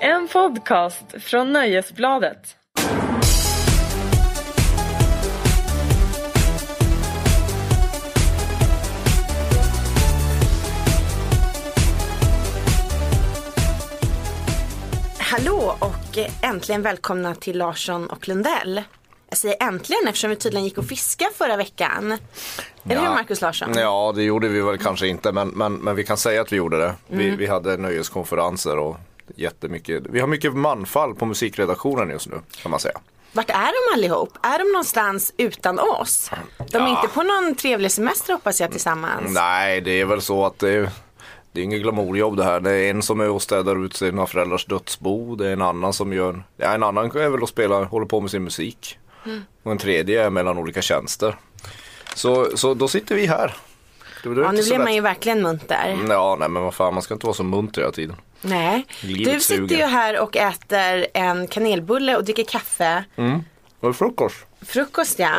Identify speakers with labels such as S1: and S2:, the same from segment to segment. S1: En podcast från Nöjesbladet.
S2: Hallå och äntligen välkomna till Larsson och Lundell. Jag säger äntligen eftersom vi tydligen gick och fiskade förra veckan. Eller hur Markus Larsson?
S3: Ja, det gjorde vi väl kanske inte, men, men, men vi kan säga att vi gjorde det.
S2: Mm.
S3: Vi, vi hade nöjeskonferenser och jättemycket. Vi har mycket manfall på musikredaktionen just nu, kan man säga.
S2: Vart är de allihop? Är de någonstans utan oss? De är inte på någon trevlig semester hoppas jag tillsammans.
S3: Nej, det är väl så att det är, det är inget glamourjobb det här. Det är en som är och städar ut sina föräldrars dödsbo. Det är en annan som gör, ja, en annan är väl och spelar, håller på med sin musik.
S2: Mm.
S3: Och en tredje är mellan olika tjänster. Så, så då sitter vi här. Det blev
S2: ja,
S3: inte
S2: nu
S3: så
S2: blev
S3: lätt. Mm.
S2: man ju verkligen munter.
S3: Ja, nej men vad fan, man ska inte vara så munter hela tiden.
S2: Nej.
S3: Livet
S2: Du sitter
S3: suger.
S2: ju här och äter en kanelbulle och dricker kaffe.
S3: Mm. Var det frukost?
S2: Frukost ja.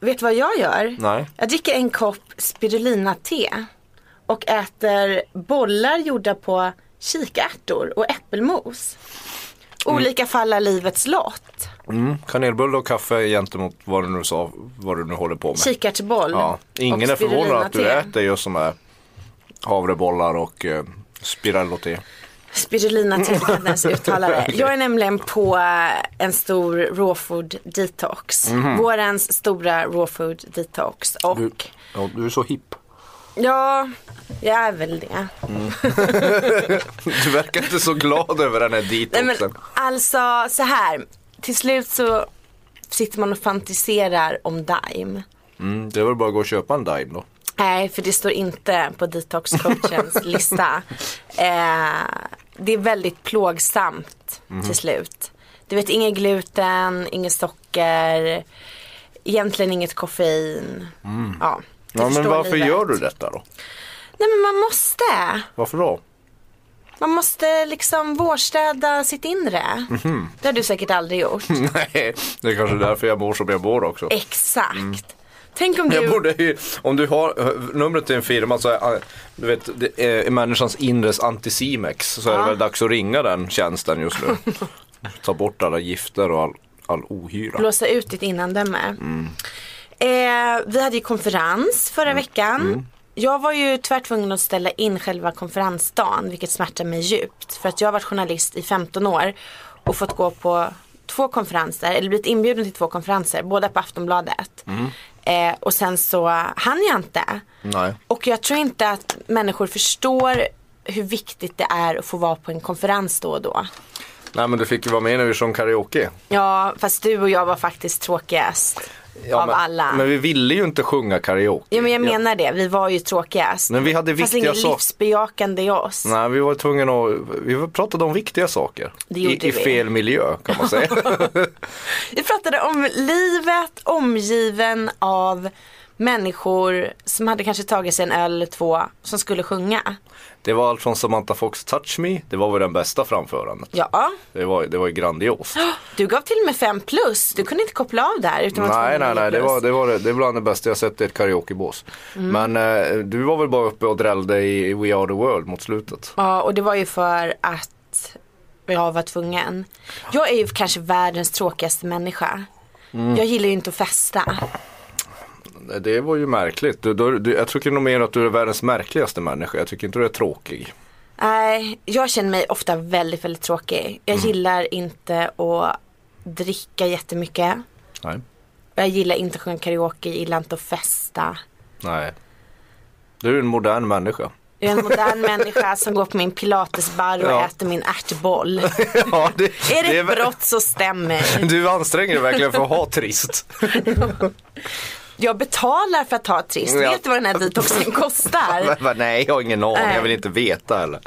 S2: Vet du vad jag gör?
S3: Mm. Nej.
S2: Jag dricker en kopp spirulina-te. Och äter bollar gjorda på kikärtor och äppelmos. Olika fall är livets lott.
S3: Mm, kanelbulle och kaffe gentemot vad du nu sa, vad du nu håller på med.
S2: Kikärtsboll.
S3: Ja. Ingen
S2: och
S3: är förvånad att du
S2: spirulina-te.
S3: äter just sådana här havrebollar och eh, spiralote.
S2: Spirulina te kan jag ens uttala det. Jag är nämligen på eh, en stor raw food detox. Vårens stora raw food detox. Och
S3: Mhm. Du, ja, du är så hipp.
S2: ja, jag är väl det.
S3: Du verkar inte så glad över den här
S2: Nej, men,
S3: detoxen.
S2: alltså så här. Till slut så sitter man och fantiserar om Dime.
S3: Mm, det är väl bara att gå och köpa en Dime då.
S2: Nej, för det står inte på detoxcoachens lista. Eh, det är väldigt plågsamt
S3: Mhm.
S2: till slut. Du vet, inget gluten, inget socker, egentligen inget koffein. Ja, du
S3: Mm. Ja, men
S2: förstår
S3: varför
S2: livet.
S3: gör du detta då?
S2: Nej, men man måste.
S3: Varför då?
S2: Man måste liksom vårstäda sitt inre.
S3: Mhm.
S2: Det har du säkert aldrig gjort.
S3: Nej, det är kanske därför jag mår som jag mår också.
S2: Exakt. Tänk om
S3: Mm. Jag
S2: du...
S3: borde ju, om du har eh, numret till en firma så är, eh, du vet, det är människans inres antisimex så är det väl dags att ringa den tjänsten just nu. Ta bort alla gifter och all, all ohyra.
S2: blåsa ut ditt innandöme.
S3: Mm.
S2: Eh, vi hade ju konferens förra veckan.
S3: Mm.
S2: Jag var ju tyvärr tvungen att ställa in själva konferensdagen vilket smärtar mig djupt. För att jag har varit journalist i 15 år och fått gå på två konferenser, eller blivit inbjuden till två konferenser, båda på Aftonbladet.
S3: Mm.
S2: Eh, och sen så hann jag inte.
S3: Nej.
S2: Och jag tror inte att människor förstår hur viktigt det är att få vara på en konferens då och då.
S3: Nej men du fick ju vara med när vi sjöng karaoke.
S2: Ja, fast du och jag var faktiskt tråkigast
S3: Ja,
S2: av
S3: men,
S2: alla.
S3: Men vi ville ju inte sjunga karaoke.
S2: Ja men jag menar det, vi var ju tråkigast.
S3: Men vi hade
S2: Fast
S3: viktiga
S2: inget
S3: saker.
S2: livsbejakande i oss.
S3: Nej, vi var tvungna att, vi pratade om viktiga saker.
S2: Det gjorde
S3: I, I
S2: vi.
S3: fel miljö kan man säga.
S2: Vi pratade om livet omgiven av människor som hade kanske tagit sig en öl eller två som skulle sjunga.
S3: det var allt från Samantha Fox Touch Me, det var väl den bästa framförandet.
S2: Ja,
S3: Det var, det var ju grandiost.
S2: du gav till och med fem plus. Du kunde inte koppla av där utan var
S3: Nej,
S2: tvungen
S3: nej,
S2: att
S3: nej.
S2: ge
S3: Det
S2: plus.
S3: var, det, var, det är bland det bästa jag sett i ett karaokebås.
S2: Mm.
S3: Men eh, du var väl bara uppe och drällde i, i We Are The World mot slutet.
S2: Ja, och det var ju för att jag var tvungen. Jag är ju kanske världens tråkigaste människa.
S3: Mm.
S2: Jag gillar ju inte att festa.
S3: Det var ju märkligt. Du, du, du, jag tycker nog mer att du är världens märkligaste människa. Jag tycker inte du är tråkig.
S2: Nej, jag känner mig ofta väldigt, väldigt tråkig. Jag
S3: Mm.
S2: gillar inte att dricka jättemycket.
S3: Nej.
S2: Jag gillar inte att sjunga karaoke, jag gillar inte att festa.
S3: Nej. Du är en modern människa.
S2: Jag är en modern människa som går på min pilatesbar och
S3: Ja.
S2: äter min ärtboll.
S3: ja, det,
S2: Är det ett
S3: vä-
S2: brott så stämmer.
S3: Du anstränger dig verkligen för att ha trist.
S2: Jag betalar för att ha trist.
S3: Ja.
S2: Vet du vad den här detoxen kostar?
S3: Men vad- Nej, jag har ingen aning.
S2: Nej.
S3: Jag vill inte veta heller.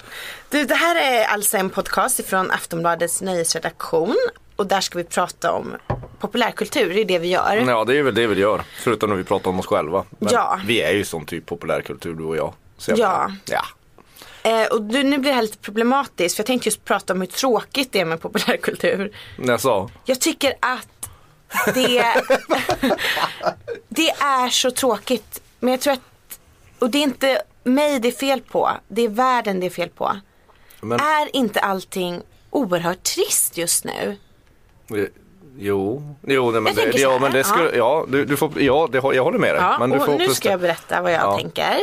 S2: Du, det här är alltså en podcast ifrån Aftonbladets nyhetsredaktion. Och där ska vi prata om populärkultur, det är det vi gör.
S3: Ja, det är väl det vi gör. Förutom när vi pratar om oss själva. Men
S2: Ja.
S3: Vi är ju sån typ populärkultur, du och jag. Så jag
S2: Ja.
S3: menar, ja.
S2: Eh, och du, nu blir det här lite problematiskt för jag tänkte just prata om hur tråkigt det är med populärkultur.
S3: Jag sa.
S2: Jag tycker att det, det är så tråkigt. Men jag tror att, och det är inte mig det är fel på, det är världen det är fel på.
S3: Men-
S2: Är inte allting oerhört trist just nu.
S3: Jo, jo nej, men,
S2: Jag
S3: det,
S2: tänker så
S3: ja,
S2: här,
S3: men det skulle,
S2: ja.
S3: ja. du, du får, ja det, har- jag håller med dig.
S2: Ja,
S3: men du
S2: och
S3: får
S2: nu
S3: presta-
S2: ska jag berätta vad jag
S3: Ja.
S2: tänker.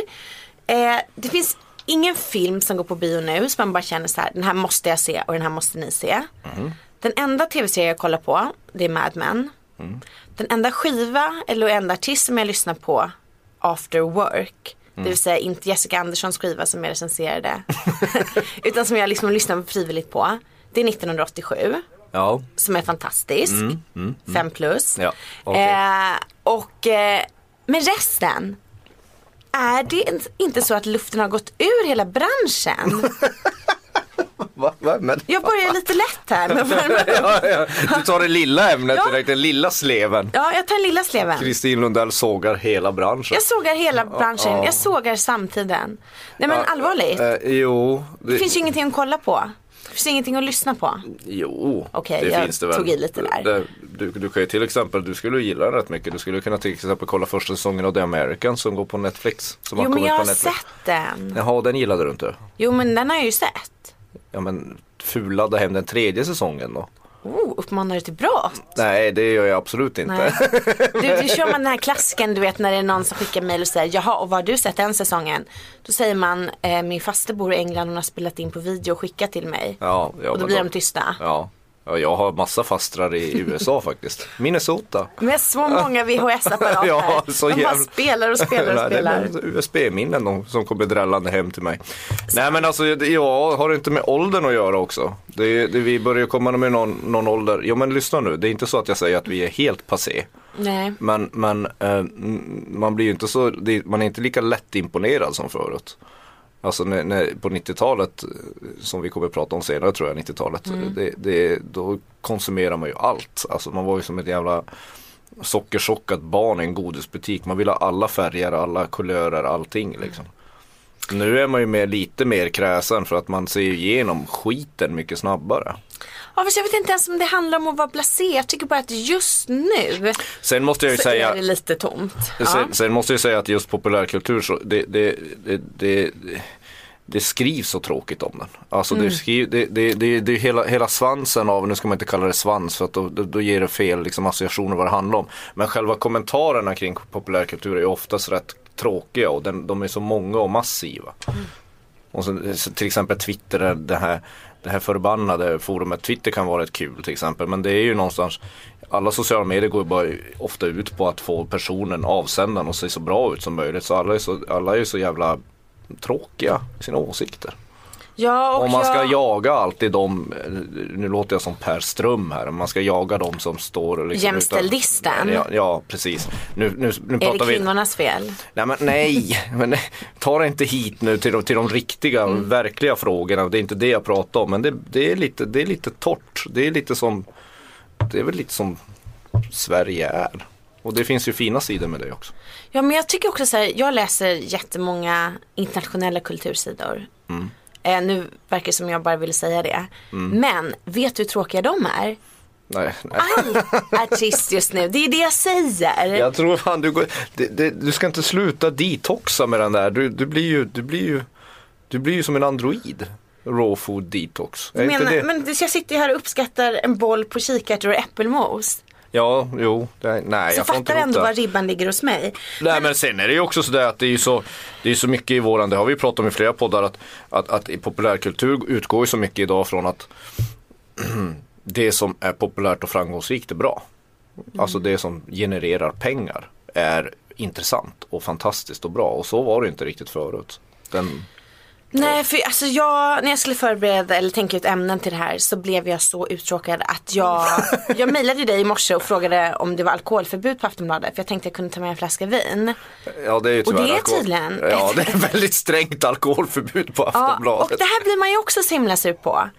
S2: Eh, det finns ingen film som går på bio nu som man bara känner så här, den här måste jag se och den här måste ni se.
S3: Mhm.
S2: Den enda tv-serie jag kollar på, det är Mad Men.
S3: Mm.
S2: Den enda skiva eller enda artist som jag lyssnar på, After Work.
S3: Mm.
S2: Det vill säga inte Jessica Anderssons skiva som jag recenserade. utan som jag liksom lyssnar frivilligt på. Det är 1987
S3: Ja,
S2: som är fantastisk. fem plus.
S3: Mm, Ja, okej.
S2: eh, och, eh, men resten. Är det in- inte så att luften har gått ur hela branschen?
S3: va, va, men...
S2: Jag börjar lite lätt här. Men,
S3: ja, ja. Du tar det lilla ämnet
S2: Ja.
S3: direkt, den lilla sleven.
S2: ja, jag tar den lilla sleven.
S3: Kristin Lundell sågar hela branschen.
S2: Jag sågar hela branschen. Jag sågar samtiden. Nej men
S3: Ja,
S2: allvarligt.
S3: eh, jo,
S2: Det finns ju ingenting att kolla på. Det finns ingenting att lyssna på.
S3: Jo,
S2: Okej,
S3: det
S2: jag
S3: finns det väl.
S2: tog i lite där.
S3: Det- Du, du kan ju till exempel, du skulle ju gilla den rätt mycket. Du skulle kunna till exempel kolla första säsongen av The Americans som går på Netflix. Som har
S2: Jo men
S3: kommit
S2: jag
S3: på
S2: har
S3: Netflix.
S2: sett den.
S3: Jaha, den gillade du inte?
S2: Jo men den har jag ju sett.
S3: Ja men fulade hem den tredje säsongen då?
S2: Oh, uppmanar du till brott?
S3: Nej, det gör jag absolut inte.
S2: Nej. Du, du kör man den här klassiken du vet när det är någon som skickar mejl och säger jaha och vad har du sett den säsongen? Då säger man eh, min faster bor i England och hon har spelat in på video och skickat till mig.
S3: Ja, ja,
S2: och då
S3: men
S2: blir de tysta.
S3: Ja. ja, jag har massa fastrar i USA faktiskt. Minnesota.
S2: Med så många VHS-apparater.
S3: Ja, så
S2: de bara
S3: jävla-
S2: spelar och spelar och
S3: Nej, det är
S2: spelar.
S3: bara USB-minnen de- som kommer drällande hem till mig. Nej men alltså, det- ja, har det inte med åldern att göra också? Det, är- det, vi börjar komma med någon, någon ålder. Jo men lyssna nu, det är inte så att jag säger att vi är helt passé.
S2: Nej.
S3: Men, men eh, m- man blir ju inte så, det, man är inte lika lättimponerad som förut. Alltså när, när, på 90-talet, eh, som vi kommer att prata om senare tror jag, 90-talet, det, det, då konsumerar man ju allt. Alltså man var ju som ett jävla sockerchockat barn i en godisbutik. Man vill ha alla färger, alla kulörer, allting liksom. Nu är man ju med lite mer kräsen för att man ser ju igenom skiten mycket snabbare.
S2: Ja, fast jag vet inte ens om det handlar om att vara blasé. Jag tycker bara att just nu
S3: Sen måste jag ju
S2: så
S3: säga
S2: är det lite tomt. Ja.
S3: Sen, sen måste jag säga att just populärkultur, så det, det, det, det, det skrivs så tråkigt om den. Alltså det, skriv, det, det, det, det är hela, hela svansen av, nu ska man inte kalla det svans för att då, då, då ger det fel liksom, associationer vad det handlar om. Men själva kommentarerna kring populärkultur är ju oftast rätt tråkiga och den, de är så många och massiva. Och så, så till exempel Twitter, är det här, det här förbannade forumet Twitter kan vara ett kul till exempel. Men det är ju någonstans, alla sociala medier går ju bara ofta ut på att få personen, avsändaren att se så bra ut som möjligt. Så alla är så, alla är ju så jävla tråkiga i sina åsikter.
S2: Ja, och
S3: Om man ska
S2: jag...
S3: jaga alltid de, nu låter jag som Per Ström här, om man ska jaga de som står liksom utan-
S2: Jämställdisten.
S3: Ja, ja precis. Nu, nu, nu
S2: Är det
S3: pratar vi
S2: kvinnornas fel?
S3: Nej, men, nej. men nej. ta det inte hit nu till de, till de riktiga,
S2: Mm.
S3: verkliga frågorna. Det är inte det jag pratar om. Men det, det, är, lite, det är lite torrt. Det är lite som, det är väl lite som Sverige är. Och det finns ju fina sidor med det också.
S2: Ja men jag tycker också så här, jag läser jättemånga internationella kultursidor.
S3: Mm.
S2: Eh, nu verkar det som jag bara ville säga det. Men vet du hur tråkiga de är?
S3: Nej, nej.
S2: Allt är trist just nu, det är det jag säger.
S3: Jag tror fan du, går, det, det, du ska inte sluta detoxa med den där. Du, du, blir, ju, du, blir, ju, du blir ju som en android. Raw food detox. Är
S2: men,
S3: inte det?
S2: men jag sitter ju här och uppskattar en boll på kikärtor och äppelmos.
S3: Ja, jo, det, nej
S2: Så
S3: jag får inte
S2: fattar
S3: ihop
S2: ändå
S3: det.
S2: var ribban ligger hos mig.
S3: Nej men sen är det ju också sådär att det är ju så, det är så mycket i våran, det har vi ju pratat om i flera poddar, att, att, att i populärkultur utgår ju så mycket idag från att det som är populärt och framgångsrikt är bra. Alltså det som genererar pengar är intressant och fantastiskt och bra och så var det ju inte riktigt förut. Den,
S2: Nej, för alltså jag, när jag skulle förbereda eller tänka ut ämnen till det här så blev jag så uttråkad att jag, jag mejlade ju dig i morse och frågade om det var alkoholförbud på Aftonbladet för jag tänkte jag kunde ta med en flaska vin.
S3: ja det är ju
S2: det
S3: tyvärr
S2: är
S3: alkohol-
S2: tydligen-
S3: Ja det är väldigt strängt alkoholförbud på
S2: Ja, och
S3: Aftonbladet.
S2: det här blir man ju också så himla sur på.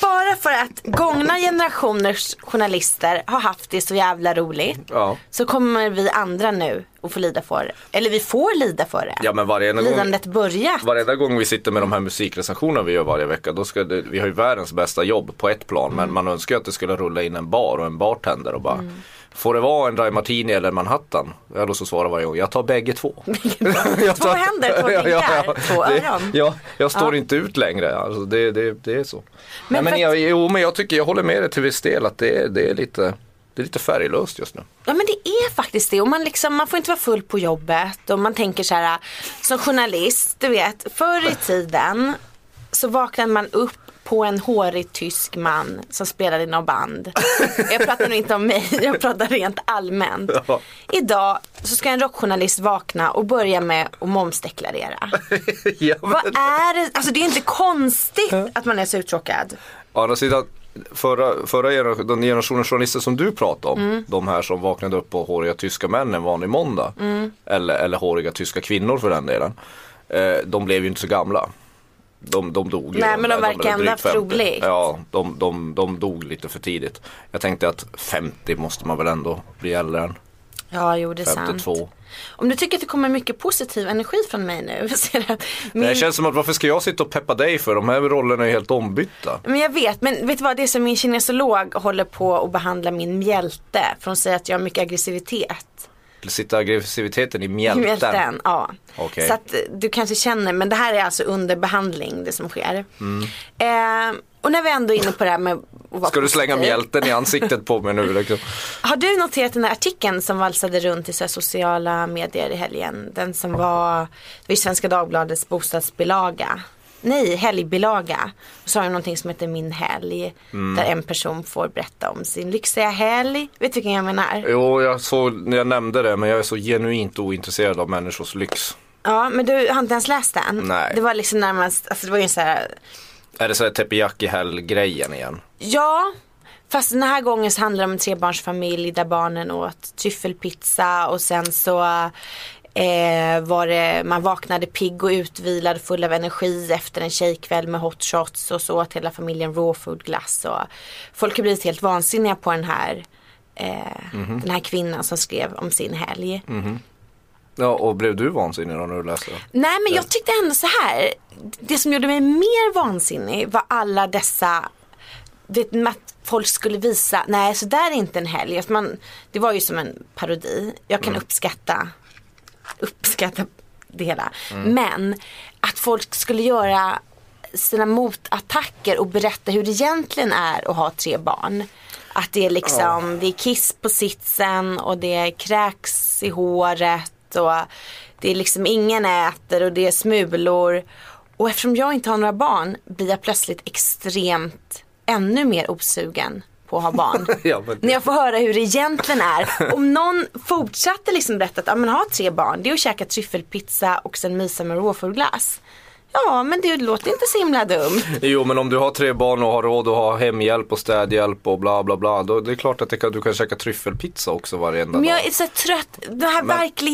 S2: Bara för att gångna generationers journalister har haft det så jävla roligt
S3: Ja.
S2: så kommer vi andra nu och får lida för det. Eller vi får lida för det.
S3: Ja men varenda gång,
S2: Lidandet börjat.
S3: varenda gång vi sitter med de här musikrecensionerna vi gör varje vecka. Då ska det, vi har ju världens bästa jobb på ett plan. Men man önskar ju att det skulle rulla in en bar och en bartender och
S2: Mm.
S3: bara. Får det vara en dry martini eller en Manhattan? Ja då så svarar varje gång. Jag tar bägge två. Jag
S2: Två händer, två fingrar, två
S3: Det-
S2: öron.
S3: Ja, jag står inte ut längre. Alltså, det, det, det är så. Men,
S2: för
S3: men
S2: att-
S3: jag, jo men jag tycker, jag håller med dig till viss del att det är, det är lite det är lite färglöst just nu.
S2: Ja men det är faktiskt det och man, liksom, man får inte vara full på jobbet och man tänker så här som journalist, du vet förr i tiden så vaknade man upp på en hårig tysk man som spelade i något band. Jag pratar nu inte om mig, jag pratar rent allmänt.
S3: Ja.
S2: Idag så ska en rockjournalist vakna och börja med att momsdeklarera.
S3: ja,
S2: Vad
S3: men,
S2: är det? Alltså det är inte konstigt att man är så uttråkad.
S3: å andra sidan, förra, förra gener- den generationen journalister som du pratade om,
S2: Mm.
S3: de här som vaknade upp på håriga tyska män en vanlig måndag,
S2: Mm.
S3: eller, eller håriga tyska kvinnor för den delen, eh, de blev ju inte så gamla. De, de dog ju.
S2: Nej, men de
S3: blev
S2: verkar ändå
S3: drygt
S2: haft
S3: 50.
S2: roligt.
S3: Ja, de, de, de dog lite för tidigt. Jag tänkte att 50 måste man väl ändå bli äldre än.
S2: Ja, jo det är sant.
S3: 52.
S2: Om du tycker att det kommer mycket positiv energi från mig nu. så är det att
S3: Det
S2: min...
S3: känns som att varför ska jag sitta och peppa dig för? De här rollerna är helt ombytta.
S2: Men jag vet, men vet du vad det är som min kinesolog håller på att behandla min mjälte. För hon säger att jag har mycket aggressivitet.
S3: Sitta aggressiviteten i
S2: i
S3: mjälten.
S2: Mjälten, ja.
S3: Okej.
S2: Så att eh, du kanske känner, men det här är alltså under behandling det som sker. Eh, och när vi ändå är inne på det här med att vara
S3: Mm. Ska du slänga
S2: positiv.
S3: mjälten i ansiktet på mig nu? Liksom?
S2: Har du noterat den här artikeln som valsade runt i så här sociala medier i helgen? Den som var vid Svenska Dagbladets bostadsbilaga. Nej, helgbilaga. Och så har de någonting som heter Min helg. Där en person får berätta om sin lyxiga helg. Vet du vilken jag menar?
S3: Jo, jag, såg, jag nämnde det men jag är så genuint ointresserad av människors lyx.
S2: Ja, men du har inte ens läst den?
S3: Nej.
S2: Det var liksom närmast, alltså det var ju så här
S3: Är det så här teppejaki-helg-grejen igen?
S2: Ja, fast den här gången så handlar det om en trebarnsfamilj där barnen åt tryffelpizza och sen så eh, var det, man vaknade pigg och utvilad full av energi efter en tjejkväll med hot shots och så åt hela familjen raw food glass och folk har blivit helt vansinniga på den här eh, Den här kvinnan som skrev om sin helg.
S3: Ja, och blev du vansinnig då när du läste det?
S2: Nej men jag tyckte ändå så här. Det som gjorde mig mer vansinnig var alla dessa vet, med att folk skulle visa, nej så där är inte en helg. Att man, det var ju som en parodi. Jag kan uppskatta, uppskatta det hela. Men att folk skulle göra sina motattacker och berätta hur det egentligen är att ha tre barn. Att det är liksom, det är kiss på sitsen och det kräks i håret och det är liksom ingen äter och det är smulor. Och eftersom jag inte har några barn blir jag plötsligt extremt ännu mer osugen på att ha barn.
S3: Ja, men-
S2: När jag får höra hur det egentligen är. Om någon fortsatte liksom berätta att ah, men ha tre barn, det är att käka tryffelpizza och sen mysa med råfågelglass. Ja, men det låter inte så himla dumt.
S3: Jo, men om du har tre barn och har råd att ha hemhjälp och städhjälp och bla bla bla. Då, det är klart att det kan, du kan käka tryffelpizza också varenda
S2: Men
S3: dag.
S2: jag är så trött. Den här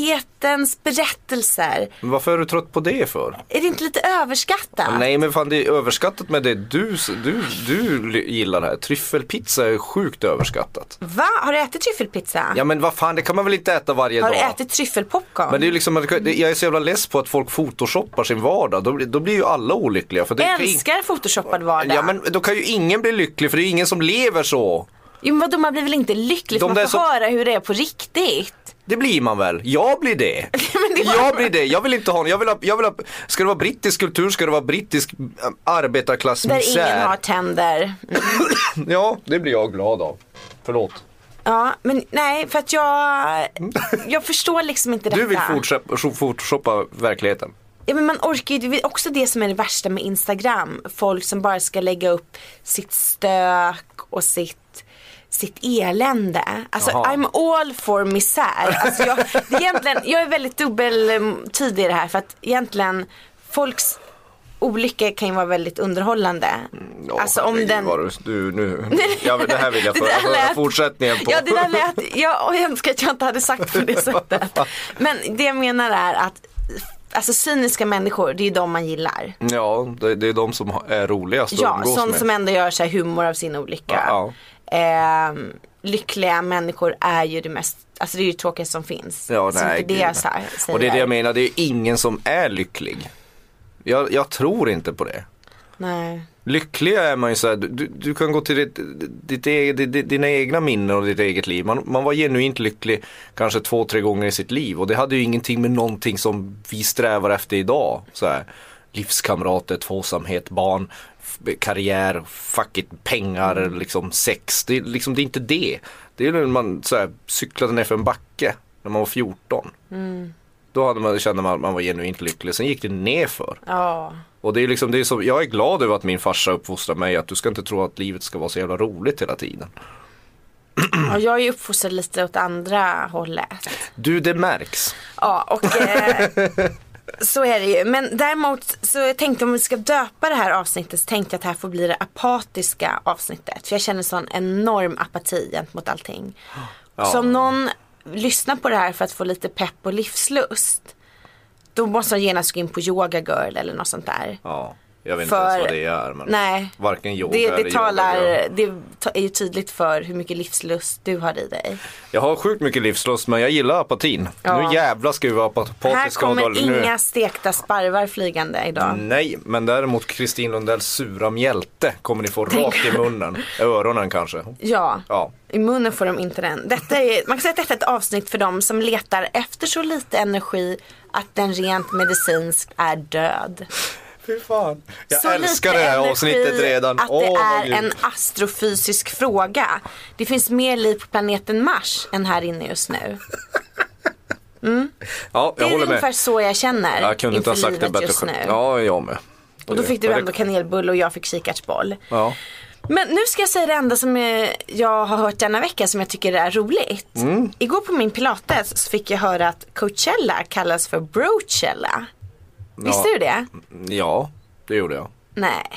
S2: verklighetens berättelser.
S3: Men varför är du trött på det för?
S2: Är det inte lite överskattat?
S3: Nej men fan det är överskattat med det du, du, du gillar det här. Tryffelpizza är sjukt överskattat.
S2: Va? Har du ätit tryffelpizza?
S3: Ja men vad fan det kan man väl inte äta varje
S2: Har du
S3: dag?
S2: ätit tryffelpopcorn?
S3: Men det är liksom, jag är så jävla less på att folk photoshoppar sin vardag. Då, blir- då blir ju alla olyckliga. För det kan ju-
S2: Älskar photoshoppad vardag.
S3: Ja men då kan ju ingen bli lycklig för det är ju ingen som lever så.
S2: Jo men vadå man blir väl inte lycklig för
S3: De
S2: man
S3: där
S2: får
S3: som-
S2: höra hur det är på riktigt.
S3: Det blir man väl? Jag blir det. Jag blir det. Jag vill inte ha Jag vill ha, jag vill ha, ska det vara brittisk kultur ska det vara brittisk äh,
S2: Där ingen
S3: arbetarklassmisär.
S2: har tänder. Mm.
S3: Ja, det blir jag glad av. Förlåt.
S2: Ja men nej för att jag, jag förstår liksom inte detta.
S3: Mm. Du vill fortsätta- photoshoppa verkligheten.
S2: Ja men man orkar ju, det är också det som är det värsta med Instagram. Folk som bara ska lägga upp sitt stök och sitt sitt elände. Alltså
S3: Jaha.
S2: I'm all for misär. Alltså, jag, det är egentligen, jag är väldigt dubbeltydig i det här för att egentligen folks olyckor kan ju vara väldigt underhållande.
S3: Åh,
S2: alltså om
S3: Mm, herregud,
S2: den
S3: vad Du, du, nu. Jag, det här vill jag
S2: Det
S3: få
S2: där lät-
S3: höra fortsättningen på.
S2: Ja det där lät, jag, och jag önskar att jag inte hade sagt på det sättet. Men det jag menar är att Alltså cyniska människor, det är ju de man gillar.
S3: Ja, det, det är de som ha- är roligast att
S2: Ja,
S3: umgås
S2: sån
S3: med.
S2: som ändå gör så här humor av sin olycka.
S3: Ja,
S2: Ehm, lyckliga människor är ju det mest, alltså det är ju tråkigt som finns.
S3: Ja,
S2: så
S3: nej,
S2: det är det
S3: gud,
S2: jag
S3: nej.
S2: så här säger.
S3: Och det är det jag menar, det är ju ingen som är lycklig. Jag, jag tror inte på det.
S2: Nej.
S3: Lyckliga är man ju såhär, du, du- du kan gå till ditt, ditt, eget- di- di- dina egna minnen och ditt eget liv. Man, man var genuint lycklig kanske två, tre gånger i sitt liv och det hade ju ingenting med någonting som vi strävar efter idag. Så här, livskamrater, tvåsamhet, barn, f- karriär, fuck it, pengar, liksom sex. Det, är liksom, det är inte det. Det är när man så här, cyklade ner för en backe när man var 14. Då hade man, kände man att man var genuint lycklig. Sen gick det nerför.
S2: Ja.
S3: Och det är liksom, det är så, jag är glad över att min farsa uppfostrar mig att du ska inte tro att livet ska vara så jävla roligt hela tiden.
S2: Och jag är ju uppfostrad lite åt andra hållet.
S3: Du, det märks.
S2: Ja, och eh, så är det ju. Men däremot så jag tänkte om vi ska döpa det här avsnittet så tänkte jag att det här får bli det apatiska avsnittet. För jag känner sån enorm apati gentemot allting.
S3: Ja.
S2: Så om någon lyssnar på det här för att få lite pepp och livslust. Då måste de genast gå in på yoga girl eller något sånt där.
S3: Ja, jag vet
S2: För-
S3: inte ens vad det är. Men
S2: Nej.
S3: Varken yoga
S2: Det,
S3: eller
S2: det, talar,
S3: yoga.
S2: det ta- är ju tydligt för hur mycket livslust du har i dig.
S3: Jag har sjukt mycket livslust men jag gillar apatin.
S2: Ja.
S3: Nu jävlar ska vi vara apat-
S2: Här
S3: apatiska. och
S2: kommer
S3: dåliga nu.
S2: inga stekta sparvar flygande idag.
S3: Nej, men däremot Kristin Lundells sura mjälte kommer ni få rakt i munnen. Öronen kanske.
S2: Ja.
S3: Ja.
S2: I munnen får de inte den. Detta är, man kan säga att detta är ett avsnitt för dem som letar efter så lite energi att den rent medicinskt är död.
S3: Fy fan. Jag
S2: så
S3: älskar det
S2: lite
S3: här
S2: energi
S3: avsnittet redan.
S2: Att det
S3: Åh, vad
S2: är
S3: grymt.
S2: en astrofysisk fråga. Det finns mer liv på planeten Mars än här inne just nu.
S3: Ja,
S2: Det
S3: jag
S2: är
S3: håller
S2: ungefär
S3: med.
S2: så jag känner
S3: Jag kunde inte ha
S2: inför
S3: sagt det
S2: livet
S3: bättre
S2: just
S3: själv.
S2: nu.
S3: Ja, jag med.
S2: Och då fick du
S3: Men det-
S2: ändå kanelbulle och jag fick kikärtsboll.
S3: Ja.
S2: Men nu ska jag säga det enda som eh, jag har hört denna vecka som jag tycker är roligt.
S3: Mm.
S2: Igår på min pilates så fick jag höra att Coachella kallas för Brochella. Visste du det?
S3: Ja, det gjorde jag.
S2: Nej.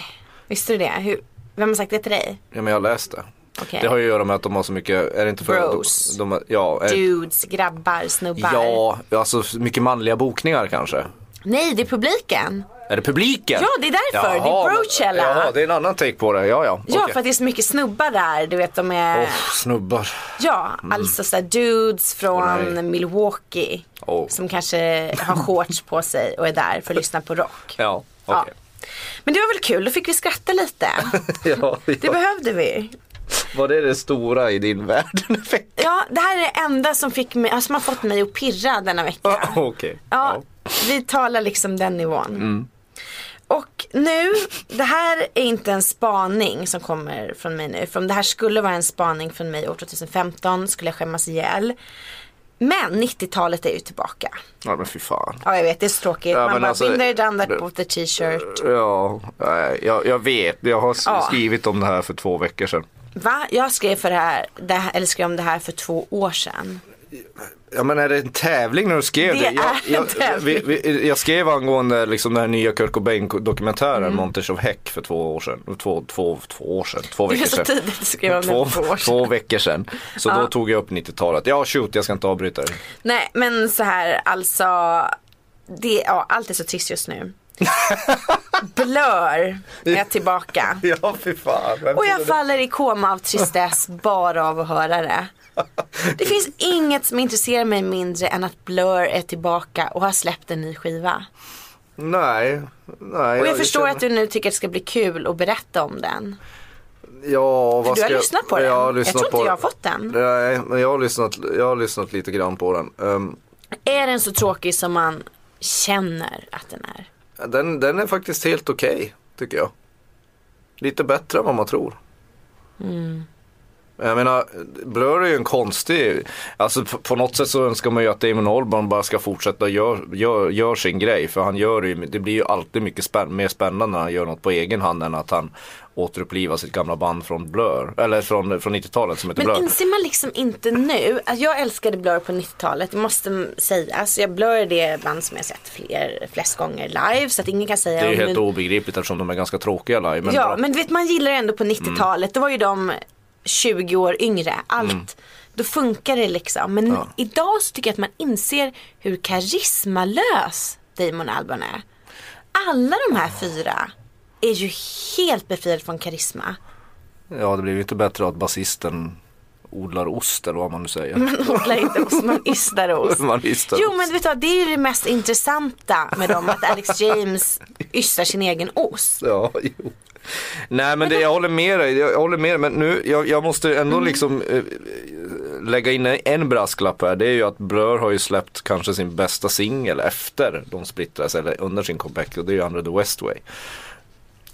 S2: Visste du det? Hur, vem har sagt det till dig?
S3: Ja, men jag läste.
S2: Okej.
S3: Det har ju att göra med att de har så mycket, är det inte för
S2: Bros.
S3: De, de, ja, är,
S2: Dudes, grabbar, snubbar.
S3: Eh. ja, alltså mycket manliga bokningar kanske.
S2: Nej, det är publiken.
S3: Är det publiken?
S2: Ja, det är därför. Det är
S3: men-
S2: Brochella.
S3: Jaha, det är en annan take på det. Ja, ja.
S2: Ja,
S3: Okej.
S2: för att det är så mycket snubbar där. Du vet, de är...
S3: Åh, snubbar.
S2: Ja, alltså såhär dudes
S3: Mm. Åh,
S2: från
S3: nej.
S2: Milwaukee.
S3: Åh.
S2: Som kanske har shorts på sig och är där för att lyssna på rock.
S3: Ja, okej.
S2: Men det var väl kul, då fick vi skratta lite.
S3: Ja.
S2: Det behövde vi.
S3: Var det det stora i din värld?
S2: Ja, det här är det enda som, fick mig, alltså, som har fått mig att pirra denna vecka.
S3: Ja, okej.
S2: Ja, vi talar liksom den nivån.
S3: Mm.
S2: Och nu, det här är inte en spaning som kommer från mig nu. För om det här skulle vara en spaning från mig år 2015 skulle jag skämmas ihjäl. Men 90-talet är ju tillbaka.
S3: Ja, men fy fan.
S2: Ja, jag vet, det är så tråkigt.
S3: Ja,
S2: Man
S3: men
S2: bara,
S3: alltså-
S2: binder done that bought the t-shirt.
S3: Ja, nej, jag, jag vet. Jag har s-
S2: Ja.
S3: skrivit om det här för två veckor sedan.
S2: Va? Jag skrev, för det här, det här, eller skrev om det här för två år sedan.
S3: Ja men är det en tävling när du skrev det?
S2: Det
S3: jag,
S2: är en
S3: jag,
S2: tävling.
S3: Vi, vi, jag skrev angående liksom den här nya Kurt Cobain dokumentären
S2: Mm.
S3: Montage of Heck för två år sedan. Två, två, två år sedan, två
S2: Det är
S3: veckor
S2: så
S3: sedan.
S2: tidigt att skriva om det
S3: Två,
S2: för två år sedan.
S3: två veckor sedan. Så då tog jag upp 90-talet. Ja shoot, jag ska inte avbryta dig.
S2: Nej men så här alltså. Det, ja, allt är så trist just nu. Blör är tillbaka.
S3: Ja fy fan. vem
S2: Och
S3: trodde
S2: jag
S3: det?
S2: faller i koma av tristess bara av att höra det. Det finns inget som intresserar mig mindre än att Blur är tillbaka och har släppt en ny skiva.
S3: Nej. nej.
S2: Och jag förstår att du nu tycker att det ska bli kul att berätta om den.
S3: Ja, vad
S2: du har
S3: ska jag-
S2: lyssnat på den.
S3: jag har
S2: Jag
S3: lyssnat
S2: tror inte
S3: på
S2: jag har fått den.
S3: Nej, men jag har lyssnat, jag har lyssnat lite grann på den. Ehm,
S2: Är den så tråkig som man känner att den är?
S3: Den, den är faktiskt helt okej, tycker jag. Lite bättre än vad man tror.
S2: Mm.
S3: Jag menar, Blur är ju en konstig, alltså på, på något sätt så önskar man ju att Damon Albarn bara ska fortsätta göra gör, gör sin grej. För han gör det ju, det blir ju alltid mycket spänn, mer spännande när han gör något på egen hand än att han återupplivar sitt gamla band från Blur, eller från, från 90-talet som heter
S2: Men
S3: Blur.
S2: inser man liksom inte nu, att jag älskade Blur på 90-talet, det måste m- sägas. Jag Blur är det band som jag sett fler, flest gånger live så att ingen kan säga
S3: Det är ju
S2: om-
S3: helt obegripligt eftersom de är ganska tråkiga live. Men
S2: Ja
S3: bra.
S2: men du vet man gillar ändå på
S3: Mm.
S2: 90-talet, då var ju de 20 år yngre, allt.
S3: Mm.
S2: Då funkar det liksom. Men idag så tycker jag att man inser hur karismalös Damon Albarn är. Alla de här fyra är ju helt befriade från karisma.
S3: Ja, det blev ju inte bättre att basisten odlar ost eller vad man nu säger.
S2: Odla inte ost, man ystar ost.
S3: man ystar
S2: Jo
S3: ost.
S2: men vet du vad, det är ju det mest intressanta med dem, att Alex James ystar sin egen ost.
S3: Ja, jo. Nej men det, jag håller med dig, jag, jag håller med dig. men nu, jag, jag måste ändå
S2: Mm.
S3: liksom eh, lägga in en, en brasklapp här. Det är ju att Blur har ju släppt kanske sin bästa singel efter de splittras eller under sin comeback och det är ju Under the Westway.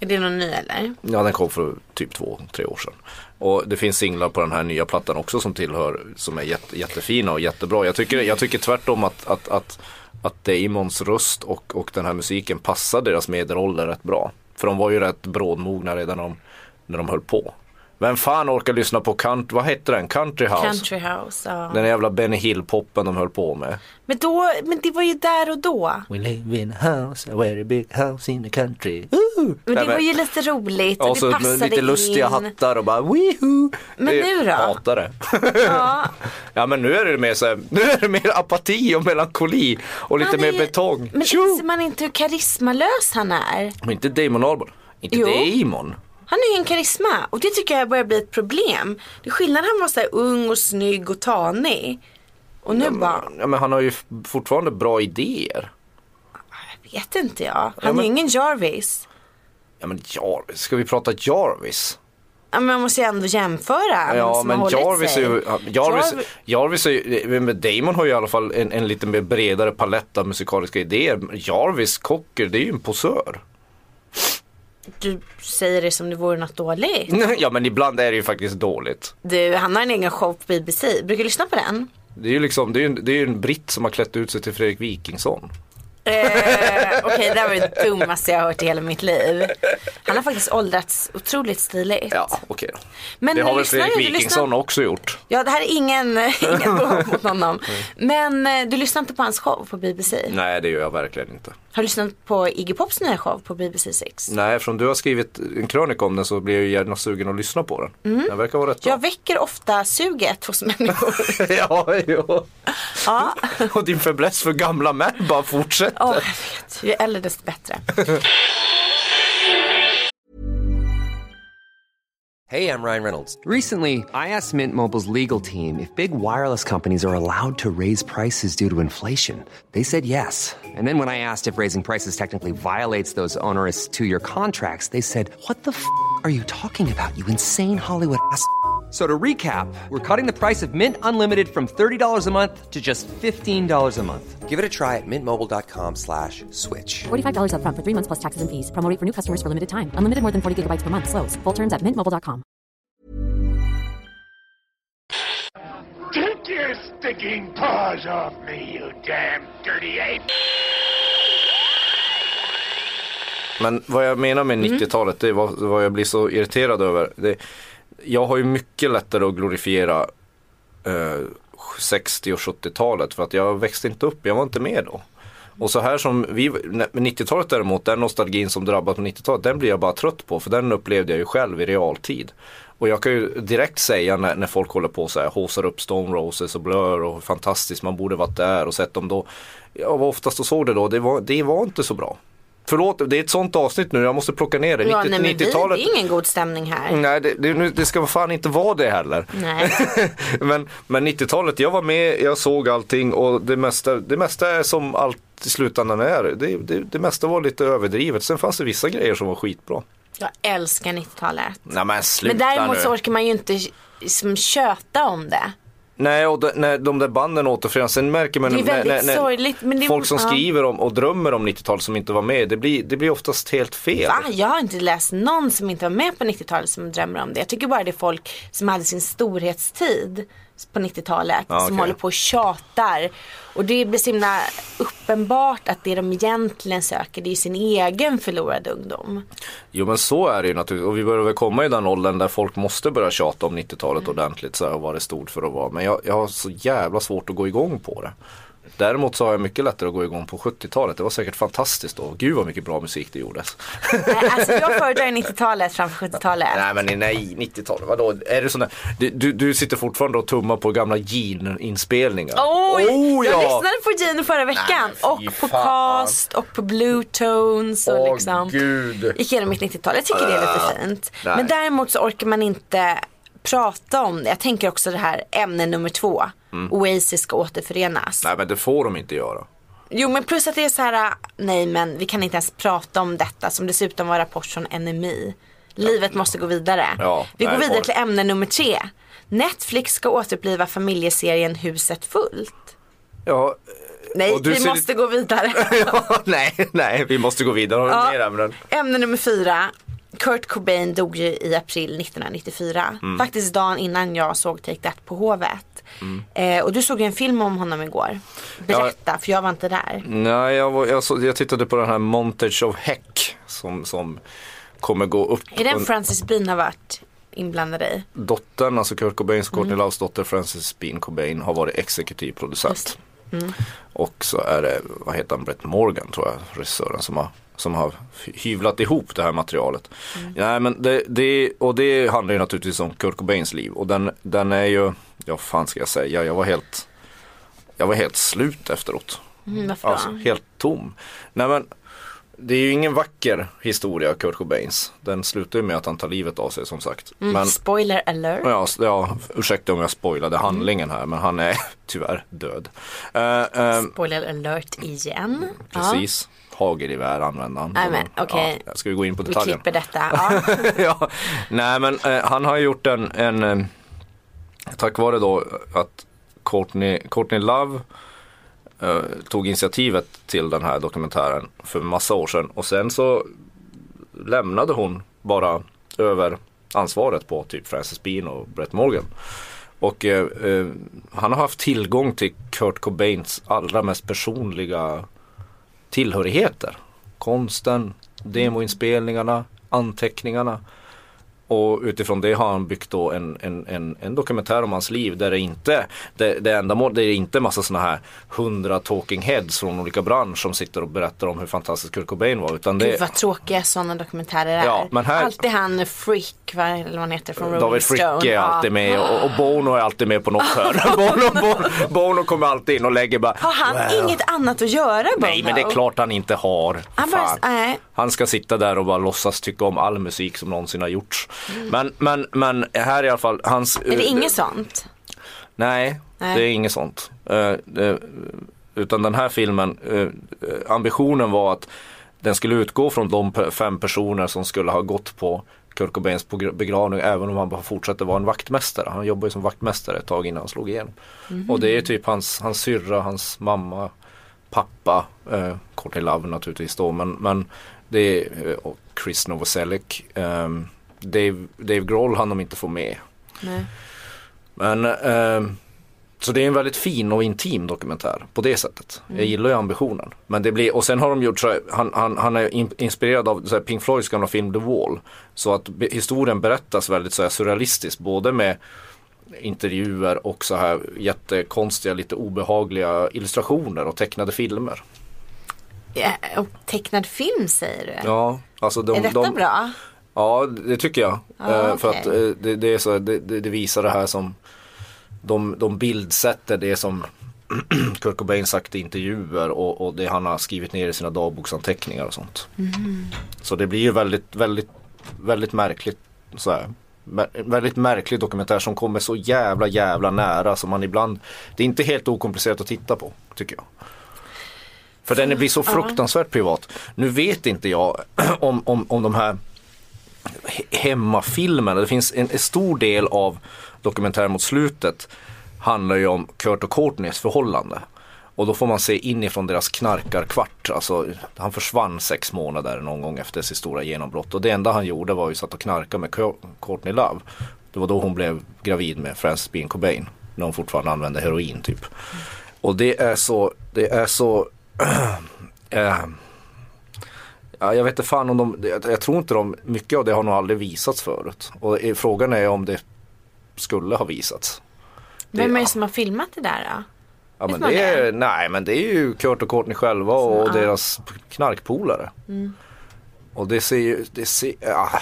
S2: Är det någon ny eller?
S3: Ja den kom för typ två, tre år sedan. Och det finns singlar på den här nya plattan också som tillhör, som är jätte, jättefina och jättebra. Jag tycker, jag tycker tvärtom att, att, att, att Damons röst och, och den här musiken passar deras medelålder rätt bra. För de var ju rätt brådmogna redan när de, när de höll på. Vem fan orkar lyssna på country, vad hette den, country house?
S2: Country House, ja.
S3: Den jävla Benny Hill-poppen de höll på med.
S2: Men, då, men det var ju där och då.
S3: We live in a house, a very big house in the country.
S2: Men det
S3: Nej, men-
S2: var ju lite roligt
S3: Ja,
S2: och
S3: och
S2: det
S3: så med
S2: passade
S3: lite lustiga
S2: in.
S3: hattar och bara wihoo.
S2: Men
S3: Det-
S2: nu då?
S3: Hatar det.
S2: Ja,
S3: Ja men nu är det mer så här, nu är det mer apati och melankoli och lite
S2: han
S3: mer
S2: är-
S3: betong.
S2: Men
S3: Tjo!
S2: inser man inte hur karismalös han är?
S3: Men inte Damon Albarn. Inte
S2: Jo.
S3: Damon.
S2: Han har ju en karisma och det tycker jag börjar bli ett problem. Det är skillnad han var så här ung och snygg och tanig. Och nu bara,
S3: Ja, men han har ju f- fortfarande bra idéer.
S2: vet inte jag. Han
S3: Ja, men-
S2: är ju ingen Jarvis.
S3: Ja men Jarvis, ska vi prata Jarvis?
S2: Ja, men man måste ju ändå jämföra. vem
S3: Ja
S2: som
S3: men
S2: har hållit
S3: Jarvis är
S2: sig.
S3: ju, ja, Jarvis,
S2: Jarv-
S3: Jarvis är ju, eh, men Damon har ju i alla fall en, en lite mer bredare palett av musikaliska idéer. Jarvis Cocker, det är ju en posör.
S2: Du säger det som det vore något dåligt.
S3: Ja men ibland är det ju faktiskt dåligt.
S2: Du, han har en egen show på BBC. Brukar du lyssna på den?
S3: Det är ju liksom, det är ju en, det är ju en britt som har klätt ut sig till Fredrik Wikingsson.
S2: Eh, Okej, det här var det dummaste jag har hört i hela mitt liv. Han har faktiskt åldrats otroligt stiligt.
S3: Ja, okej då.
S2: Men eh,
S3: det har väl
S2: lyssnar
S3: Fredrik
S2: du? Du lyssnar-
S3: Wikingsson också gjort.
S2: Ja, det här är ingen, ingen dom mot honom. Men eh, du lyssnar inte på hans show på BBC?
S3: Nej, det gör jag verkligen inte.
S2: Har du lyssnat på Iggy Pops nya show på BBC 6?
S3: Nej, eftersom du har skrivit en krönika om den så blir jag ju gärna sugen att lyssna på den. Den verkar vara rätt
S2: Mm. Jag väcker ofta suget hos människor.
S3: bra. ja, ja.
S2: ja.
S3: Och din fäbless för gamla män bara fortsätter.
S2: Åh, jag vet. Ju äldre desto bättre.
S4: Hey, I'm Ryan Reynolds. Recently, I asked Mint Mobile's legal team if big wireless companies are allowed to raise prices due to inflation. They said yes. And then when I asked if raising prices technically violates those onerous two year contracts, they said, What the f are you talking about, you insane Hollywood ass? f- So to recap, we're cutting the price of Mint Unlimited from $30 a month to just $15 a month. Give it a try at mintmobile.com slash switch.
S5: $45 upfront for three months plus taxes and fees. Promo rate for new customers for limited time. Unlimited more than 40 gigabytes per month. Slows. Full terms at mintmobile.com.
S6: Take your stinking paws off me, you damn dirty ape!
S3: Men vad jag menar
S2: Mm.
S3: med 90-talet, det är vad, vad jag blir så irriterad över. Det, jag har ju mycket lättare att glorifiera eh, 60 och 70-talet för att jag växte inte upp, jag var inte med då. Och så här som vi, nej, men 90-talet däremot, den nostalgin som drabbat på 90-talet, den blir jag bara trött på för den upplevde jag ju själv i realtid. Och jag kan ju direkt säga när, när folk håller på så här, haussar upp Stone Roses och Blur och hur fantastiskt, man borde varit där och sett dem då. Jag var oftast och såg det då, det var, det var inte så bra. Förlåt, det är ett sånt avsnitt nu, jag måste plocka ner det.
S2: Ja,
S3: 90-
S2: nej, men vi, det
S3: 90-talet
S2: är ingen god stämning här.
S3: Nej, det, det, nu- det ska fan inte vara det heller.
S2: Nej.
S3: men men 90-talet, jag var med, jag såg allting och det mesta, det mesta är som allt i slutändan är. Det, det, det mesta var lite överdrivet. Sen fanns det vissa grejer som var skitbra.
S2: Jag älskar 90-talet.
S3: Nej men sluta
S2: Men däremot
S3: nu.
S2: så orkar man ju inte liksom, köta om det.
S3: Nej, och de, när de där banden återförenas. Sen märker man
S2: Det är
S3: när-
S2: väldigt
S3: när, när
S2: sorgligt, men det-
S3: folk som
S2: ja.
S3: skriver om och drömmer om 90-talet som inte var med. Det blir, det blir oftast helt fel.
S2: Va? Ah, Jag har inte läst någon som inte var med på 90-talet som drömmer om det. Jag tycker bara det är folk som hade sin storhetstid på 90-talet
S3: Ja,
S2: som
S3: okej.
S2: håller på och tjatar. Och det blir så himla uppenbart att det de egentligen söker det är ju sin egen förlorade ungdom.
S3: Jo men så är det ju naturligtvis och vi börjar väl komma i den åldern där folk måste börja tjata om 90-talet
S2: Mm.
S3: ordentligt så här, och vad det stod för att vara. Men jag, jag har så jävla svårt att gå igång på det. Däremot så har jag mycket lättare att gå igång på 70-talet. Det var säkert fantastiskt då. Gud vad mycket bra musik det gjordes.
S2: Nej, alltså jag föredrar 90-talet framför 70-talet.
S3: nej men nej, 90-talet, vadå? Är det sån där? Du, du, du sitter fortfarande och tummar på gamla Gene-inspelningar.
S2: Oj,
S3: Oh,
S2: Jag
S3: ja!
S2: lyssnade på Gene förra veckan
S3: Nej, men fy
S2: och på
S3: fan.
S2: Cast och på Blue Tones och
S3: Åh,
S2: liksom
S3: gud. Äh,
S2: gick igenom mitt 90-tal. Jag tycker det är lite fint.
S3: nej.
S2: Men däremot så orkar man inte prata om det. Jag tänker också det här ämne nummer två. Oasis ska återförenas.
S3: Mm. Nej men det får de inte göra.
S2: Jo men plus att det är så här, äh, nej men vi kan inte ens prata om detta som dessutom var rapport från NMI. Livet måste gå vidare.
S3: Ja,
S2: vi
S3: nej,
S2: går vidare
S3: var-
S2: till ämne nummer tre. Netflix ska återuppliva familjeserien Huset fullt.
S3: Ja,
S2: Nej,
S3: Och du
S2: vi
S3: ser-
S2: måste gå vidare.
S3: ja nej, nej vi måste gå vidare och
S2: Ja.
S3: ner ämnen.
S2: Ämne nummer fyra. Kurt Cobain dog ju i april 1994.
S3: Mm.
S2: Faktiskt dagen innan jag såg Take That på Hovet.
S3: Mm.
S2: Eh, och du såg ju en film om honom igår. Berätta, för jag var inte där.
S3: Nej, jag, var, jag, så, jag tittade på den här Montage of Heck som, som kommer gå upp.
S2: Är den
S3: Und-
S2: Francis Bean har varit inblandad i?
S3: dottern, alltså Kurt Cobains
S2: Mm.
S3: och Courtney Loves dotter Frances Bean Cobain har varit exekutiv producent.
S2: Mm.
S3: Och så är det, vad heter han, Brett Morgan tror jag, regissören som har, som har hyvlat ihop det här materialet.
S2: Mm.
S3: Nej men det, det, och det handlar ju naturligtvis om Kurt Cobains liv och den, den är ju, ja fan ska jag säga, jag var helt, jag var helt slut efteråt.
S2: Mm, varför då?
S3: Alltså helt tom. Nej men det är ju ingen vacker historia Kurt Cobains. Den slutar ju med att han tar livet av sig som sagt.
S2: Mm.
S3: Men,
S2: Spoiler alert.
S3: Ja, s- ja, ursäkta om jag spoilade handlingen här men han är tyvärr död. Eh, eh,
S2: Spoiler alert igen.
S3: precis, hagelgevär använde han.
S2: Nej, men, okej.
S3: ja, ska vi gå in på
S2: Ja, vi
S3: detaljen?
S2: klipper detta. Ja.
S3: ja. Nej men eh, han har gjort en, en eh, tack vare då att Courtney, Courtney Love eh, tog initiativet till den här dokumentären för massa år sedan och sen så lämnade hon bara över ansvaret på typ Frances Bean och Brett Morgan. Och eh, eh, han har haft tillgång till Kurt Cobains allra mest personliga tillhörigheter. Konsten, demoinspelningarna, anteckningarna. Och utifrån det har han byggt då en, en, en, en dokumentär om hans liv där det inte, det, det enda mål, det är inte massa sådana här hundra talking heads från olika bransch som sitter och berättar om hur fantastisk Kurt Cobain var. Utan det,
S2: Gud vad tråkiga sådana dokumentärer är.
S3: Ja, men här-
S2: Alltid han Frick, vad, eller vad han heter från Rolling
S3: David
S2: Stone.
S3: Fricke är
S2: Ja.
S3: alltid med och, och Bono är alltid med på något hörn. Bono, Bono, Bono kommer alltid in och lägger bara
S2: Har han inget annat att göra Bono?
S3: Nej men det är klart han inte har.
S2: Han bara-
S3: Fan.
S2: nej.
S3: han ska sitta där och bara låtsas tycka om all musik som någonsin har gjorts. Men, men, men här i alla fall hans... eh,
S2: Är det inget sånt?
S3: Nej,
S2: Nej.
S3: det är inget sånt. Eh, eh, utan den här filmen, eh, eh, ambitionen var att den skulle utgå från de pe- fem personer som skulle ha gått på Kurt Cobains pogr- begravning även om han bara fortsatte vara en vaktmästare. Han jobbade ju som vaktmästare ett tag innan han slog igenom. Och det är typ hans, hans syrra, hans mamma, pappa, eh, Courtney Love naturligtvis då, men, men det är, eh, och Chris Novoselic. ehm, Dave, Dave Grohl hann de inte få med.
S2: Nej.
S3: Men eh, så det är en väldigt fin och intim dokumentär på det sättet.
S2: Mm.
S3: Jag gillar ju ambitionen. Men det blir, och sen har de gjort så här, han, han, han är in, inspirerad av så här Pink Floyds gamla film The Wall. Så att be, historien berättas väldigt så här surrealistiskt, både med intervjuer och så här jättekonstiga, lite obehagliga illustrationer och tecknade filmer.
S2: Ja, och tecknad film säger du?
S3: Ja, alltså de,
S2: är detta
S3: de,
S2: bra?
S3: Ja, det tycker jag.
S2: Ja,
S3: Eh, För
S2: okej.
S3: att eh, det, det, är så, det, det det visar det här som de, de bildsätter det som Kurt Cobain sagt i intervjuer och, och det han har skrivit ner i sina dagboksanteckningar och sånt.
S2: Mm.
S3: Så det blir ju väldigt, väldigt, väldigt märkligt så här. Mär- Väldigt märklig dokumentär som kommer så jävla jävla nära som man ibland Det är inte helt okomplicerat att titta på tycker jag. För den blir så fruktansvärt privat. Nu vet inte jag om, om, om de här he- hemmafilmerna. Det finns en, en stor del av dokumentären mot slutet handlar ju om Kurt och Courtneys förhållande. Och då får man se inifrån deras knarkarkvart. Alltså, han försvann sex månader någon gång efter sitt stora genombrott. Och det enda han gjorde var ju satt och knarka med Kurt- Courtney Love. Det var då hon blev gravid med Frances Bean Cobain. När hon fortfarande använde heroin typ. Och det är så, det är så eh, Ja, jag vet inte fan om de, jag, jag tror inte de, mycket av det har nog aldrig visats förut. Och eh, frågan är om det skulle ha visats.
S2: Vem är
S3: ja.
S2: det som har filmat det där då?
S3: Ja, men
S2: man
S3: det är, nej men det är ju Kurt och Courtney själva och, deras p- knarkpolare. Och det ser ju, det ser, ah.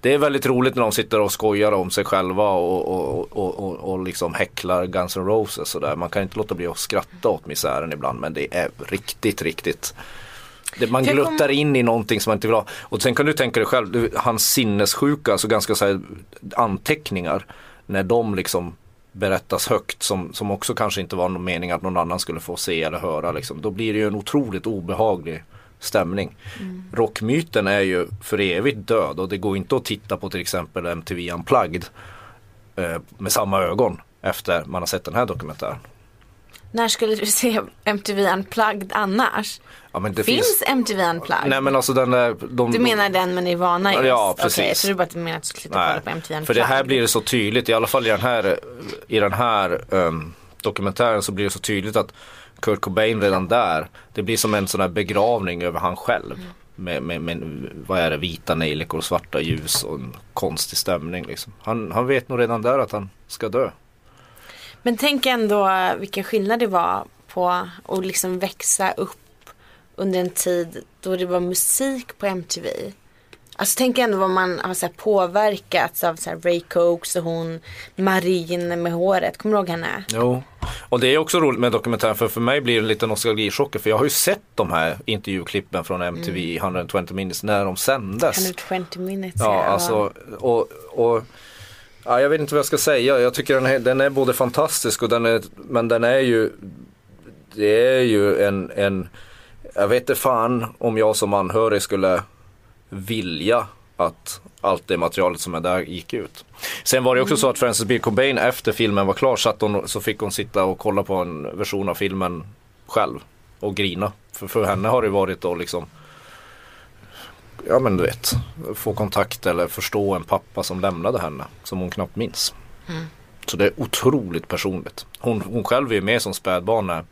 S3: Det är väldigt roligt när de sitter och skojar om sig själva och, och, och, och, och liksom häcklar Guns N' Roses sådär. Man kan inte låta bli att skratta åt misären ibland men det är riktigt, riktigt Det, man
S2: För jag
S3: gluttar
S2: kommer-
S3: in i någonting som man inte vill ha. Och sen kan du tänka dig själv, du- hans sinnessjuka, alltså ganska så här anteckningar. När de liksom berättas högt som, som också kanske inte var någon mening att någon annan skulle få se eller höra. Liksom. Då blir det ju en otroligt obehaglig stämning.
S2: Mm.
S3: Rockmyten är ju för evigt död och det går inte att titta på till exempel MTV Unplugged eh, med samma ögon efter man har sett den här dokumentären.
S2: När skulle du se MTV Unplugged annars?
S3: Ja, men det
S2: finns, MTV Unplugged?
S3: Nej men alltså den där, de,
S2: Du menar den med Nirvana just?
S3: Ja,
S2: Okej,
S3: precis.
S2: jag trodde bara att du menade att du skulle titta kolla på MTV Unplugged.
S3: För det här blir det så tydligt, i alla fall i den här, i den här ehm, dokumentären så blir det så tydligt att Kurt Cobain redan där, det blir som en sån här begravning över han själv.
S2: Mm.
S3: Med, med, med vad är det, vita nejlikor, svarta ljus och en konstig stämning liksom. Han, han vet nog redan där att han ska dö.
S2: Men tänk ändå vilken skillnad det var på att liksom växa upp under en tid då det var musik på MTV. Alltså tänk ändå vad man har så här påverkats av så här Ray Cokes och hon Marin med håret. Kommer du ihåg henne?
S3: Jo. Och det är också roligt med dokumentären för för mig blir det en liten nostalgichocker för jag har ju sett de här intervjuklippen från
S2: Mm.
S3: MTV 120 minutes när de sändes.
S2: 120 minutes.
S3: Ja, alltså, och, och, ja, jag vet inte vad jag ska säga. Jag tycker den är, den är både fantastisk och den är, men den är ju, det är ju en, en, jag vet inte fan om jag som anhörig skulle vilja att allt det materialet som är där gick ut. Sen var det också så att Frances B. Cobain efter filmen var klar satt hon, så fick hon sitta och kolla på en version av filmen själv och grina. För, för henne har det varit då liksom ja men du vet, få kontakt eller förstå en pappa som lämnade henne som hon knappt minns. Så det är otroligt personligt. Hon, hon själv är ju med som spädbarn när,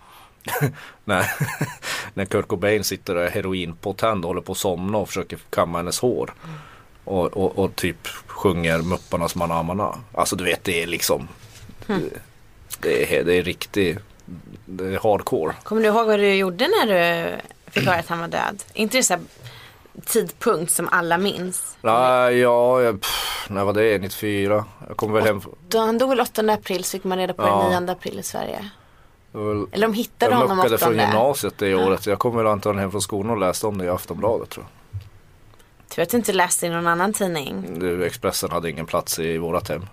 S3: när, när Kurt Cobain sitter och är heroinpåtänd och håller på att somna och försöker kamma hennes hår. Och, och, och typ sjunger Mupparnas manamana. Alltså du vet det är liksom det, är, det är riktigt det är hardcore.
S2: Kommer du ihåg vad du gjorde när du fick höra att han var död? Inte det så här tidpunkt som alla minns.
S3: Nej, ja, jag- pff, när var det? 94? Jag kommer väl hem
S2: Då han dog väl 8 april så fick man reda på
S3: Ja.
S2: det 9 april i Sverige.
S3: det var väl-
S2: Eller de hittade honom
S3: Jag muckade
S2: 8
S3: från gymnasiet det året. Jag kom väl antagligen hem från skolan och läste om det i Aftonbladet tror jag.
S2: Tur att du inte läste i någon annan tidning.
S3: Du, Expressen hade ingen plats i vårat hem.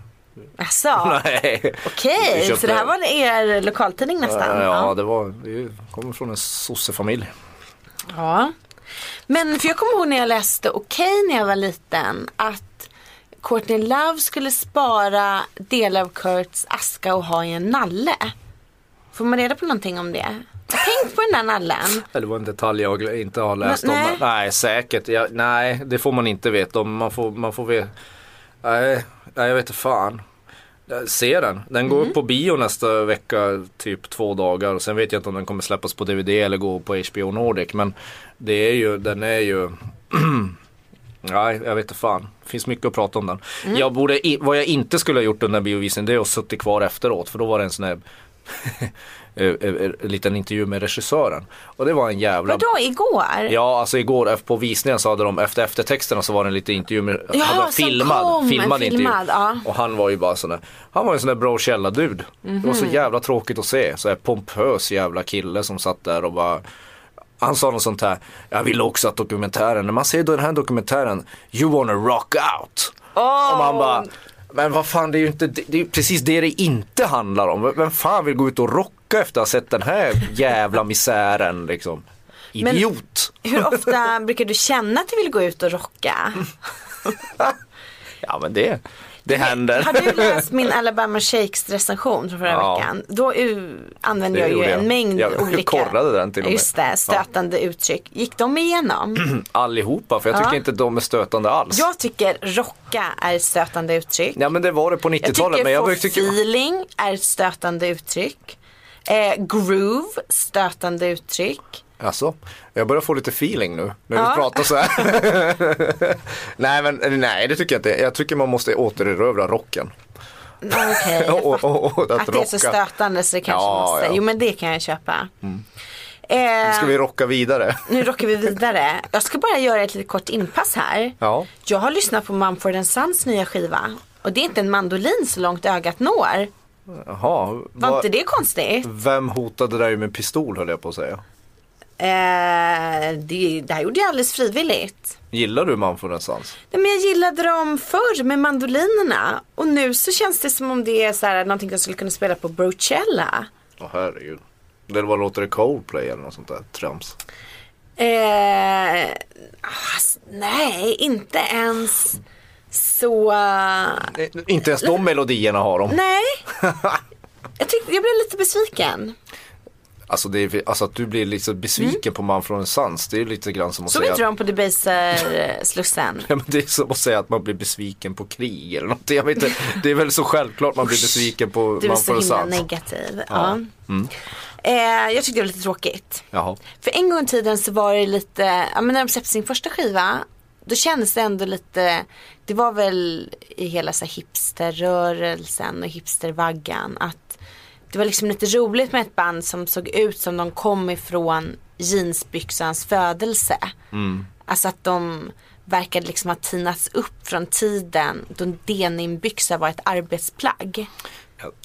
S2: Alltså,
S3: Nej. Vi
S2: okej.
S3: köpte-
S2: Så det här var er lokaltidning nästan?
S3: Ja, det var, vi kommer från en sossefamilj.
S2: Ja. Men för jag kommer ihåg när jag läste Okej när jag var liten att Courtney Love skulle spara delar av Kurts aska och ha i en nalle. Får man reda på någonting om det? Tänk på den där nallen.
S3: Eller var en detalj jag gl- inte har läst
S2: Men,
S3: om.
S2: nej.
S3: Nej, säkert. Ja, nej, det får man inte veta om. Man får, man får veta. Nej, nej, jag vet inte fan. Jag ser den. Den går upp på bio nästa vecka, typ två dagar. Och sen vet jag inte om den kommer släppas på DVD eller gå på HBO Nordic. Men det är ju, den är ju Nej, jag vet inte fan. Det finns mycket att prata om den. Jag borde, i, vad jag inte skulle ha gjort under biovisningen det är att suttit kvar efteråt. För då var det en sån här eh, eh, liten intervju med regissören. Och det var en jävla...
S2: Vadå igår?
S3: Ja, alltså igår på visningen så hade de efter eftertexterna så var det en liten intervju med,
S2: Ja,
S3: hade de
S2: som
S3: filmad,
S2: kom,
S3: filmad, intervju.
S2: filmad, ja.
S3: Och han var ju bara sån där, han var en sån där bro källa dude Det var så
S2: Mhm.
S3: jävla tråkigt att se, så här pompös jävla kille som satt där och bara han sa något sånt här, jag vill också att dokumentären, när man ser den här dokumentären, you wanna rock out. Och man bara, men vad fan det är ju inte, det det är ju precis det det inte handlar om. Vem- Vem fan vill gå ut och rocka efter att ha sett den här jävla misären liksom.
S2: Men-
S3: Idiot.
S2: Hur ofta brukar du känna att du vill gå ut och rocka?
S3: Ja men det, det händer.
S2: Har du läst min Alabama Shakes recension från förra
S3: Ja.
S2: veckan? Då u- använde
S3: Det
S2: jag ju
S3: gjorde jag.
S2: en mängd
S3: Jag
S2: olika
S3: korrade den till och med.
S2: Just det, stötande uttryck. Gick de igenom?
S3: Allihopa, för jag tycker
S2: Ja.
S3: inte de är stötande alls.
S2: Jag tycker rocka är ett stötande uttryck.
S3: Ja men det var det på
S2: Jag tycker
S3: 90-talet. Men jag
S2: få
S3: tycker,
S2: feeling är ett stötande uttryck. Eh, groove, stötande uttryck.
S3: alltså, jag börjar få lite feeling nu när
S2: Ja.
S3: du pratar så här. nej men eh, nej det tycker jag inte. Jag tycker man måste återerövra rocken.
S2: Ja, Okej, jag
S3: Och- och- och
S2: fattar.
S3: att
S2: Att det är så
S3: rocka.
S2: stötande så det kanske
S3: Ja,
S2: måste.
S3: ja.
S2: Jo men det kan jag köpa.
S3: Nu
S2: Eh,
S3: ska vi rocka vidare.
S2: Nu rockar vi vidare. Jag ska bara göra ett litet kort inpass här.
S3: Ja.
S2: Jag har lyssnat på Mumford Sons nya skiva. Och det är inte en mandolin så långt ögat når.
S3: Jaha,
S2: Var
S3: vad-
S2: inte det konstigt?
S3: vem hotade dig med pistol höll jag på att säga.
S2: Eh, det, det här gjorde jag alldeles frivilligt.
S3: Gillar du Man från Renässans?
S2: Nej, men jag gillade dem förr med mandolinerna. Och nu så känns det som om det är så här, någonting jag skulle kunna spela på Brochella.
S3: Åh herregud. Det var låter det Coldplay eller något sånt där trams.
S2: Eh, ass- nej, inte ens så...
S3: Eh, Inte ens de melodierna har de.
S2: Nej. Jag, tyckte, jag blev lite besviken.
S3: Alltså, det är, alltså att du blir liksom besviken
S2: Mm.
S3: på Man från Renässans. Det är lite grann som att
S2: Såg
S3: säga
S2: inte de på Debaser-slussen?
S3: Ja, men det är som att säga att man blir besviken på krig eller något. Jag vet inte, det är väl så självklart man blir besviken på
S2: Du är
S3: man
S2: så
S3: får en
S2: himla
S3: sans. Mm.
S2: negativ. Ja. Eh, jag tyckte det var lite tråkigt.
S3: Jaha.
S2: För en gång i tiden så var det lite, ja men när de släppte sin första skiva, då kändes det ändå lite, det var väl i hela så här hipsterrörelsen och hipstervaggan att det var liksom lite roligt med ett band som såg ut som de kom ifrån jeansbyxans födelse.
S3: Mm.
S2: Alltså att de verkade liksom ha tinats upp från tiden då en denimbyxa var ett arbetsplagg.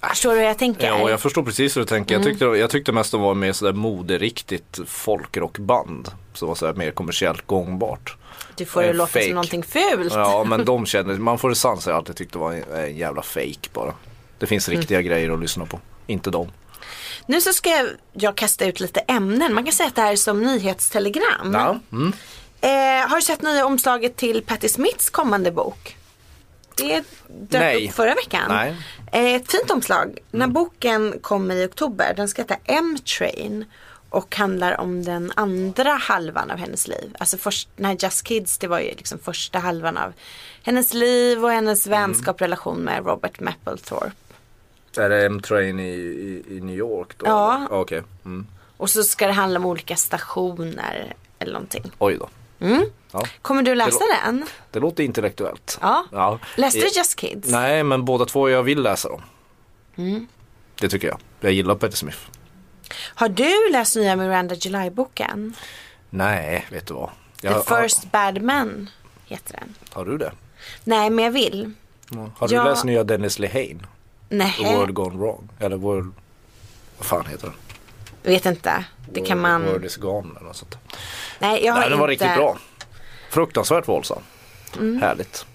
S2: Äh, Förstår du hur jag tänker?
S3: Äh, Ja, och jag förstår precis hur du tänker.
S2: Mm.
S3: Jag, tyckte, jag tyckte mest de var mer sådär moderiktigt folkrockband. Som var sådär mer kommersiellt gångbart.
S2: du får det
S3: Eh,
S2: låta
S3: fake.
S2: som någonting fult.
S3: Ja men de känner, man får en sans jag alltid tyckte var en, en jävla fake bara. Det finns
S2: Mm.
S3: riktiga grejer att lyssna på. Inte dem.
S2: Nu så ska jag, jag kasta ut lite ämnen. Man kan säga att det här är som nyhetstelegram. Eh, har du sett nya omslaget till Patti Smiths kommande bok? Det dök
S3: Nej.
S2: upp förra veckan.
S3: Nej. Mm.
S2: Eh, ett fint omslag. När boken kommer i oktober, den ska heta M-Train och handlar om den andra halvan av hennes liv. Alltså först, den här Just Kids, det var ju liksom första halvan av hennes liv och hennes
S3: Mm.
S2: vänskap, relation med Robert Mapplethorpe.
S3: Är det M-Train i, i, i New York då?
S2: Ja.
S3: eller? Okej. Mm.
S2: Och så ska det handla om olika stationer eller någonting.
S3: Oj då. Ja.
S2: Kommer du läsa
S3: Det
S2: den?
S3: Det låter intellektuellt.
S2: Ja.
S3: Ja.
S2: Läste du
S3: Eh,
S2: Just Kids? Mm.
S3: Nej, men båda två jag vill läsa dem. Det tycker jag. Jag gillar Patti Smith.
S2: Har du läst nya Miranda July-boken?
S3: Nej, vet du vad.
S2: The
S3: Jag,
S2: First Bad Man heter den.
S3: har, har du det?
S2: Nej, men jag vill.
S3: Har du
S2: Ja. Eh.
S3: läst nya Dennis Lehane?
S2: Nej,
S3: The World Gone Wrong? Eller World... Vad fan heter den?
S2: jag vet inte. Det kan
S3: World- World
S2: man...
S3: is gone eller något sånt.
S2: Nej, jag har
S3: Nej, den var
S2: inte... Mm.
S3: riktigt bra. Fruktansvärt våldsam. Härligt.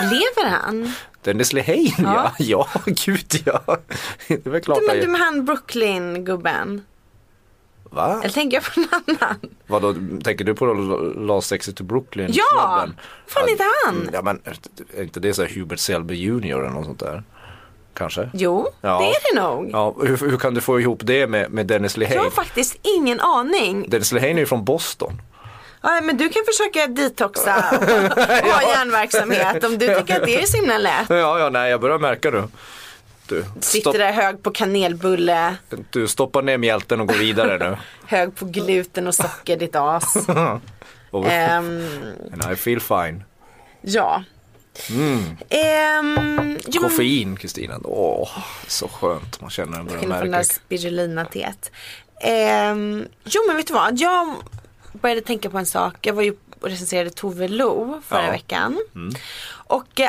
S2: Lever han?
S3: Dennis Lehane ja. ja, gud ja. Det är väl klart.
S2: Du, men
S3: jag-
S2: du med han Brooklyn-gubben.
S3: Va?
S2: Eller tänker jag på någon annan?
S3: Vadå, tänker du på Last Exit to Brooklyn?
S2: Ja!
S3: snubben?
S2: Fan, inte han?
S3: Mm, Ja men är inte det så här Hubert Selby Jr eller något sånt där? Kanske?
S2: Jo,
S3: Ja.
S2: det är det nog.
S3: Ja, hur, hur kan du få ihop det med, med Dennis
S2: Jag
S3: Lehane?
S2: har faktiskt ingen aning.
S3: Dennis Lehane är ju från Boston.
S2: Ja, men du kan försöka detoxa och ha hjärnverksamhet om du tycker att det är så himla lätt.
S3: Ja, ja, nej jag börjar märka nu. Du,
S2: Sitter där hög på kanelbulle,
S3: du stoppar ner mjälten och går vidare nu.
S2: hög på gluten och socker, ditt as.
S3: Och,
S2: Ehm,
S3: and I feel fine.
S2: ja. Ehm, jo, men-
S3: Koffein Kristina, åh så skönt. Man känner den börjar
S2: Skillnad från det där
S3: märka.
S2: spirulinateet. Ehm, jo men vet du vad, jag började tänka på en sak. Jag var ju och recenserade Tove Lo förra
S3: Ja.
S2: veckan. Och eh,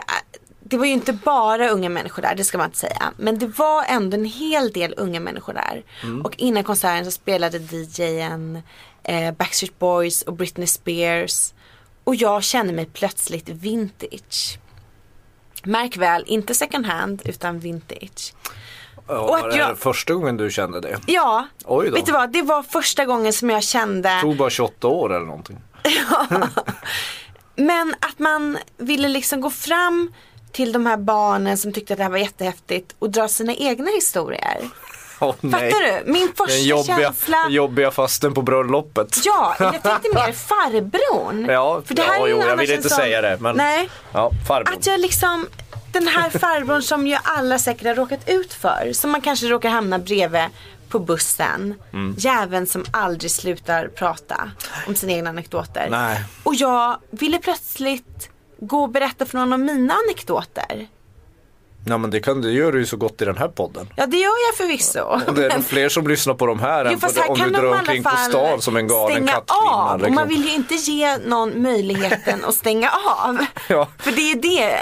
S2: det var ju inte bara unga människor där, det ska man inte säga. Men det var ändå en hel del unga människor där. Och innan konserten så spelade DJn eh, Backstreet Boys och Britney Spears. Och jag kände mig plötsligt vintage. Märk väl, inte second hand utan vintage.
S3: Ja,
S2: och att
S3: var det
S2: jag-
S3: första gången du kände det?
S2: Ja,
S3: Oj då.
S2: vet du vad? Det var första gången som jag kände,
S3: Tog bara 28 år eller någonting.
S2: men att man ville liksom gå fram till de här barnen som tyckte att det här var jättehäftigt och dra sina egna historier.
S3: Åh, nej.
S2: Fattar du? Min första
S3: Den jobbiga,
S2: känsla.
S3: jobbiga fasten på bröllopet.
S2: Ja, jag tänkte mer farbrorn.
S3: Ja,
S2: För det här
S3: ja,
S2: är ju
S3: jo, jag
S2: annars
S3: vill
S2: en
S3: inte
S2: sån-
S3: säga det, men-
S2: Nej.
S3: Ja, farbror.
S2: Att jag liksom, den här farbrorn som ju alla säkert har råkat ut för. Som man kanske råkar hamna bredvid på bussen.
S3: Mm.
S2: Jäveln som aldrig slutar prata om sina egna anekdoter.
S3: Nej.
S2: Och jag ville plötsligt gå och berätta för någon om mina anekdoter.
S3: Nej men det, kan, det gör du ju så gott i den här podden.
S2: Ja det gör jag förvisso.
S3: Om det är nog fler som lyssnar på de här än
S2: Jo
S3: på,
S2: fast här
S3: om du
S2: kan de
S3: drar
S2: i
S3: omkring
S2: alla
S3: på
S2: fall
S3: stan som en galen
S2: stänga
S3: kattkvinna.
S2: av. Och man
S3: liksom.
S2: vill ju inte ge någon möjligheten att stänga av.
S3: Ja.
S2: För det är det.